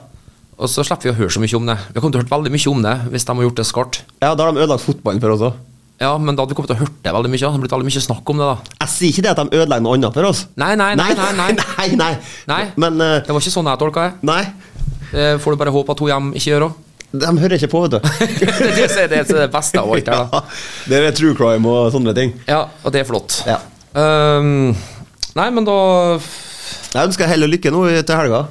Speaker 1: Og så slipper vi å høre så mye om det. Vi kommer til å hørt veldig mye om det hvis de har gjort det skarpt.
Speaker 3: ja, da har de ødelagt fotballen for oss òg.
Speaker 1: Ja, men da hadde vi kommet til å hørt det veldig mye. Det hadde blitt veldig mye snakk om det, da.
Speaker 3: Jeg sier ikke det at de ødelegger noe annet for oss.
Speaker 1: Nei, nei, nei, nei, nei.
Speaker 3: nei, nei.
Speaker 1: Nei,
Speaker 3: Men eh,
Speaker 1: det var ikke sånn jeg tolka det.
Speaker 3: Nei.
Speaker 1: Det Eh, får du bare håpe at hun hjem ikke gjør òg.
Speaker 3: De hører ikke på, vet du.
Speaker 1: det er det som er det som er det beste av alt. her, da.
Speaker 3: Ja, det er true crime og sånne ting.
Speaker 1: Ja, og det er flott.
Speaker 3: Ja.
Speaker 1: Ehm, nei, men da
Speaker 3: Jeg ønsker heller lykke nå til helga.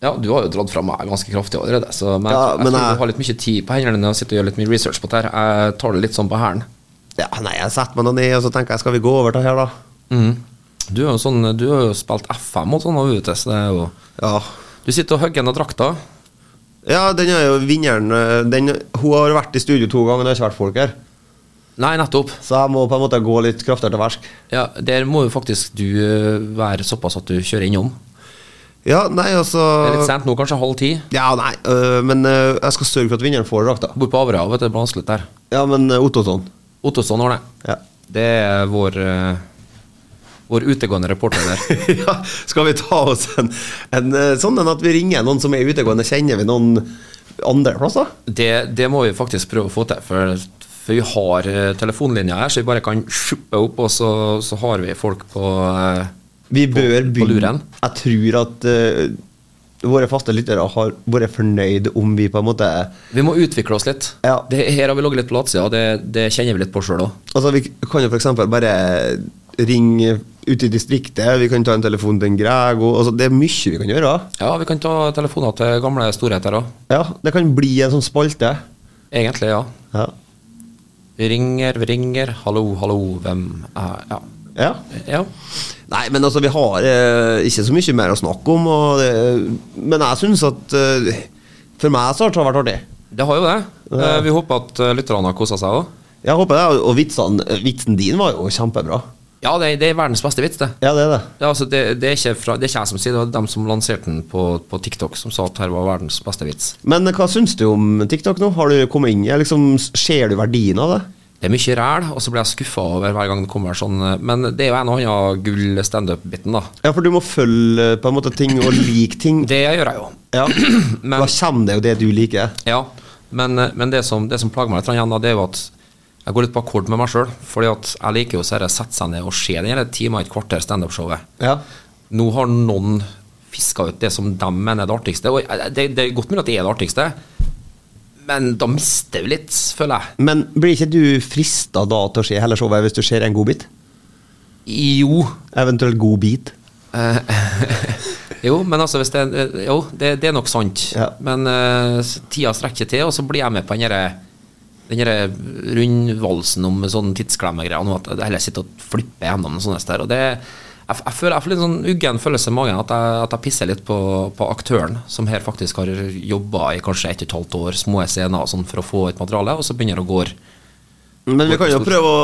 Speaker 1: Ja, du har jo dratt fra meg ganske kraftig allerede, så men
Speaker 3: Ja,
Speaker 1: jeg,
Speaker 3: men
Speaker 1: tror
Speaker 3: jeg-
Speaker 1: du har litt mye tid på hendene dine og sitter og gjør litt mye research på det her. Jeg tar det litt sånn på hælen.
Speaker 3: Ja, nei, jeg setter meg nå ned og så tenker jeg, skal vi gå over til her, da?
Speaker 1: Mm. Du, er jo sånn, du har jo spilt FM og sånn, og UT, så det er jo
Speaker 3: Ja.
Speaker 1: Du sitter og hogger ned drakta.
Speaker 3: ja, den er jo vinneren eh, den, Hun har vært i studio to ganger, men det har ikke vært folk her.
Speaker 1: Nei, nettopp.
Speaker 3: Så jeg må på en måte gå litt kraftigere til versk.
Speaker 1: Ja, Der må jo faktisk du eh, være såpass at du kjører innom.
Speaker 3: Ja, nei, altså
Speaker 1: Det er litt sent nå, kanskje halv ti.
Speaker 3: Ja, nei, øh, men øh, jeg skal sørge for at vinneren får drakta.
Speaker 1: Bor på Averøya, vet du. Det blir vanskelig der.
Speaker 3: Ja, men øh, Ottosson
Speaker 1: Ottosson ordner det.
Speaker 3: ja.
Speaker 1: Det er vår eh, Vår utegående reporter der.
Speaker 3: ja, skal vi ta oss en, en øh, sånn en at vi ringer noen som er utegående? Kjenner vi noen andreplass, da?
Speaker 1: Det, det må vi faktisk prøve å få til, for, for vi har eh, telefonlinja her, så vi bare kan sjuppe opp, og så, så har vi folk på eh,
Speaker 3: Vi bør
Speaker 1: på
Speaker 3: begynne.
Speaker 1: luren.
Speaker 3: Jeg tror at øh, våre faste lyttere har vært fornøyd om vi på en måte
Speaker 1: Vi må utvikle oss litt.
Speaker 3: Ja.
Speaker 1: Det, her har vi ligget litt på latsida, og det, det kjenner vi litt på sjøl òg.
Speaker 3: Altså, vi kan jo for eksempel bare ringe ute i distriktet, vi kan ta en telefon til en Greg, og, altså, det er mye vi kan gjøre.
Speaker 1: Ja, vi kan ta telefoner til gamle storheter òg.
Speaker 3: Ja, det kan bli en sånn spalte.
Speaker 1: Egentlig, ja.
Speaker 3: Ja.
Speaker 1: Vi ringer, vi ringer. Hallo, hallo, hvem er Ja.
Speaker 3: ja.
Speaker 1: ja.
Speaker 3: Nei, men altså, vi har eh, ikke så mye mer å snakke om, og det, men jeg syns at eh, For meg så har det vært artig.
Speaker 1: Det har jo det. Eh, Vi håper at eh, lytterne har kosa seg òg.
Speaker 3: Jeg håper det, og vitsene, vitsen din var jo kjempebra.
Speaker 1: Ja, det, det er verdens beste vits, det.
Speaker 3: Ja, det er det.
Speaker 1: Ja, altså det, det, er ikke fra, det er ikke jeg som sier det, det var dem som lanserte den på, på TikTok, som sa at her var verdens beste vits.
Speaker 3: Men hva syns du om TikTok nå? Har du kommet inn i det? liksom, Ser du verdien av det?
Speaker 1: Det er mye ræl, og så blir jeg skuffa over hver gang det kommer sånn eh, Men det er jo en og annen gull standup-biten, da.
Speaker 3: Ja, for du må følge eh, på en måte ting og like ting.
Speaker 1: Det gjør jeg jo.
Speaker 3: Ja,
Speaker 1: Men-
Speaker 3: Da kommer det jo det du liker.
Speaker 1: Ja, men, eh, men det, som, det som plager meg litt igjen, da, det er jo at jeg går litt på akkord med meg sjøl. Fordi at jeg liker jo å sette seg ned og se den hele timen i et kvarter standup-showet.
Speaker 3: Ja.
Speaker 1: Nå har noen fiska ut det som de mener er det artigste. Og eh, det, det er godt mulig at det er det artigste, men da mister vi litt, føler jeg.
Speaker 3: Men blir ikke du frista da til å se hele showet hvis du ser en godbit?
Speaker 1: Jo.
Speaker 3: Eventuelt godbit.
Speaker 1: Eh, jo, men altså hvis det, eh, jo, det, det er nok sant.
Speaker 3: Ja.
Speaker 1: Men eh, s- tida strekker ikke til, og så blir jeg med på den derre den derre rundvalsen om sånn tidsklemmergreier. nå, At jeg heller sitter og flipper gjennom en sånn sted. Og det, jeg, f- jeg, føler, jeg får litt sånn uggen følelse i magen at jeg, at jeg pisser litt på, på aktøren, som her faktisk har jobba i kanskje ett og et halvt år, små scener og sånn, for å få et materiale, og så begynner det å gå
Speaker 3: Men vi kan jo prøve å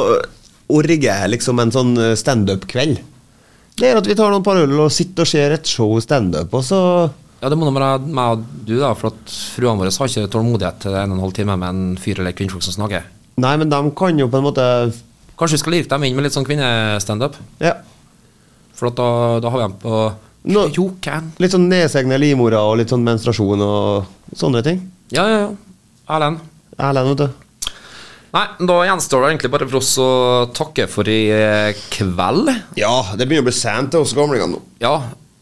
Speaker 3: orge liksom en sånn standup-kveld. Det er at vi tar noen par øl og sitter og ser et show standup, og så
Speaker 1: Ja, det må nå være meg og du, da, for at fruene våre har ikke tålmodighet til en og en halv time med en fyr eller kvinnfolk som snakker.
Speaker 3: Nei, men de kan jo på en måte
Speaker 1: Kanskje vi skal lirke dem inn med litt sånn kvinnestandup?
Speaker 3: Ja.
Speaker 1: For at da, da har vi dem på
Speaker 3: Nå-
Speaker 1: You can.
Speaker 3: Litt sånn nedsegne livmora og litt sånn menstruasjon og sånne ting.
Speaker 1: Ja, ja, ja. Erlend.
Speaker 3: Erlend, vet du.
Speaker 1: Nei, da gjenstår det egentlig bare for oss å takke for i eh, kveld.
Speaker 3: Ja, det begynner å bli sent til oss gamlingene nå.
Speaker 1: Ja,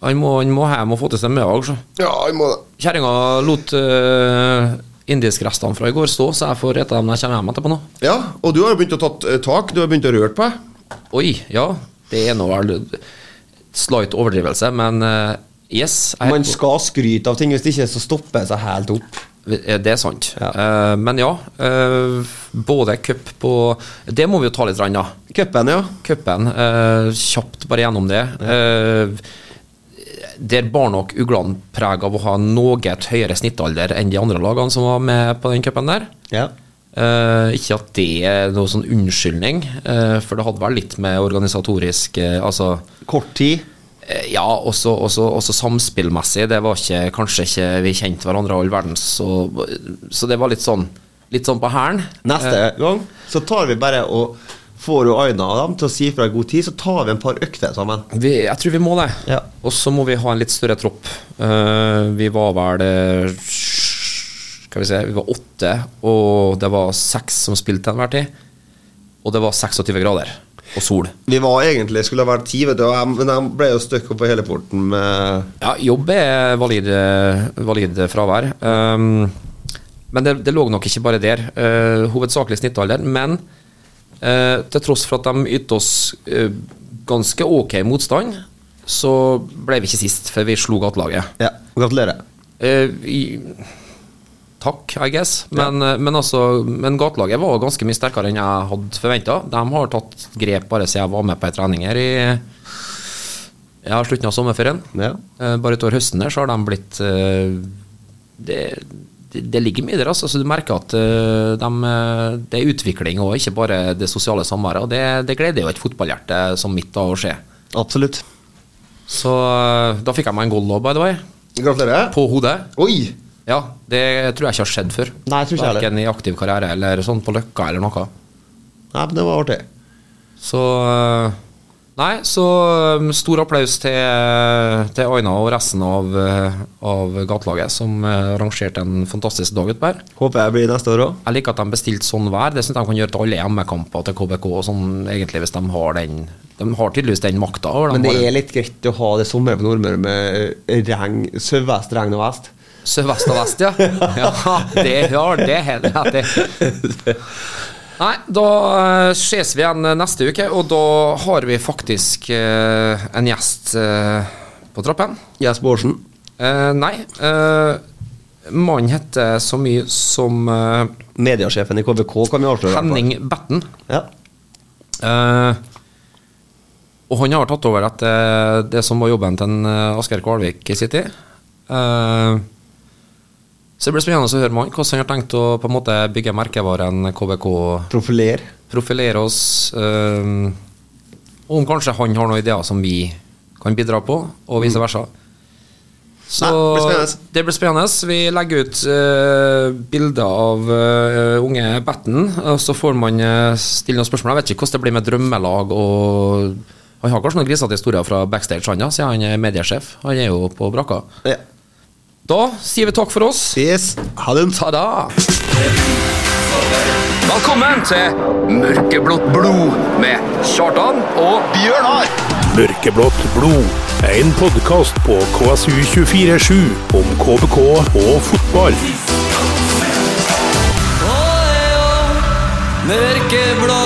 Speaker 1: han må, han må hjem og få til seg middag. så.
Speaker 3: Ja, vi må det.
Speaker 1: Kjerringa lot uh, indiskrestene fra i går stå, så jeg får ete dem når jeg kommer hjem etterpå nå.
Speaker 3: Ja, og du har jo begynt å ta tak, du har begynt å røre på deg.
Speaker 1: Oi, ja. Det er nå vel slight overdrivelse, men eh, yes. jeg-
Speaker 3: Man skal skryte av ting, hvis det ikke så stopper det seg helt opp.
Speaker 1: Det er sant.
Speaker 3: Ja.
Speaker 1: Eh, men ja, eh, både cup på Det må vi jo ta litt, rann, da.
Speaker 3: Cupen, ja.
Speaker 1: Cupen, eh, kjapt bare gjennom det. Eh, der bar nok Ugland preg av å ha noe høyere snittalder enn de andre lagene som var med på den cupen der.
Speaker 3: ja.
Speaker 1: Eh, ikke at det er noe sånn unnskyldning, eh, for det hadde vel litt med organisatorisk eh, Altså
Speaker 3: Kort tid.
Speaker 1: eh, ja, også, også, også samspillmessig. Det var ikke, kanskje ikke vi kjente hverandre all verden, så, så det var litt sånn Litt sånn på hælen.
Speaker 3: Neste gang så tar vi bare og får jo Aina og dem til å si fra i god tid, så tar vi en par økter sammen.
Speaker 1: Vi, jeg tror vi må det.
Speaker 3: Ja.
Speaker 1: Og så må vi ha en litt større tropp. Eh, vi var vel eh, Skal vi se, vi var åtte, og det var seks som spilte til enhver tid. Og det var 26 grader og sol.
Speaker 3: Vi var egentlig skulle ha vært ti, vet du, og jeg, men jeg ble jo stuck oppå hele porten med
Speaker 1: Ja, jobb er valid, eh, valid fravær. Um, men det, det lå nok ikke bare der. eh, hovedsakelig snittalder. Men eh, til tross for at de ytte oss eh, ganske ok motstand, så ble vi ikke sist, for vi slo gatelaget.
Speaker 3: Ja, gratulerer.
Speaker 1: Eh, i- takk, I guess. Men, eh, men, altså, men gatelaget var ganske mye sterkere enn jeg hadde forventa. De har tatt grep bare siden jeg var med på ei trening her i ja, slutten av sommerferien.
Speaker 3: Ja.
Speaker 1: Eh, Bare utover høsten der så har de blitt eh, Det, det, det ligger mye i det. Altså. Så du merker at eh, de, eh, det er utvikling og ikke bare det sosiale samværet. Og det, det gleder jo et fotballhjerte som mitt da å se.
Speaker 3: Absolutt.
Speaker 1: Så eh, da fikk jeg meg en goal òg, by the way.
Speaker 3: Gratulerer.
Speaker 1: På hodet.
Speaker 3: Oi!
Speaker 1: Ja, det tror jeg ikke har skjedd før.
Speaker 3: Nei, jeg tror ikke heller.
Speaker 1: Verken i aktiv karriere eller sånn på Løkka eller noe.
Speaker 3: Nei, men det var artig.
Speaker 1: Så eh, Nei, så eh, stor applaus til, til Aina og resten av, eh, av gatelaget, som eh, arrangerte en fantastisk dag utpå her.
Speaker 3: Håper jeg blir neste år òg.
Speaker 1: Jeg liker at de bestilte sånn vær. Det syns jeg de kan gjøre til alle hjemmekamper til KBK, og sånn, egentlig, hvis de har den De har tydeligvis den makta. og de
Speaker 3: Men det
Speaker 1: har-
Speaker 3: er litt greit å ha det sommer på Nordmøre med regn, sørvest, regn og vest.
Speaker 1: Sørvest og vest, ja. ja det har det helt rett i. Nei, da eh, ses vi igjen neste uke, og da har vi faktisk eh, en gjest eh, på trappen.
Speaker 3: Jess Bårdsen.
Speaker 1: Eh, nei, eh, mannen heter så mye som eh,
Speaker 3: Mediasjefen i KVK kan vi avsløre. i hvert fall.
Speaker 1: Henning Betten.
Speaker 3: Ja.
Speaker 1: Eh, og han har tatt over etter det som var jobben til en, eh, Asgeir Kvalvik i sin tid. Eh, så det blir spennende å høre med han hvordan han har tenkt å på en måte bygge merkevaren KBK,
Speaker 3: Profiler.
Speaker 1: profilere oss. eh, og om kanskje han har noen ideer som vi kan bidra på, og vice versa. Så
Speaker 3: Mm. Nei, det blir spennende.
Speaker 1: det blir spennende. Vi legger ut eh, bilder av eh, unge Betten, og så får man eh, stille noen spørsmål. Jeg vet ikke hvordan det blir med drømmelag og Han har kanskje noen grisete historier fra backstage, han da, siden han er mediesjef. Han er jo på brakka.
Speaker 3: Ja.
Speaker 1: Da sier vi takk for oss.
Speaker 3: Yes. Ha det.
Speaker 1: Ta da! Velkommen til Mørkeblått blod med Kjartan og
Speaker 2: Mørkeblått blod er en podkast på KSU247 om KBK og fotball.
Speaker 5: Mørkeblå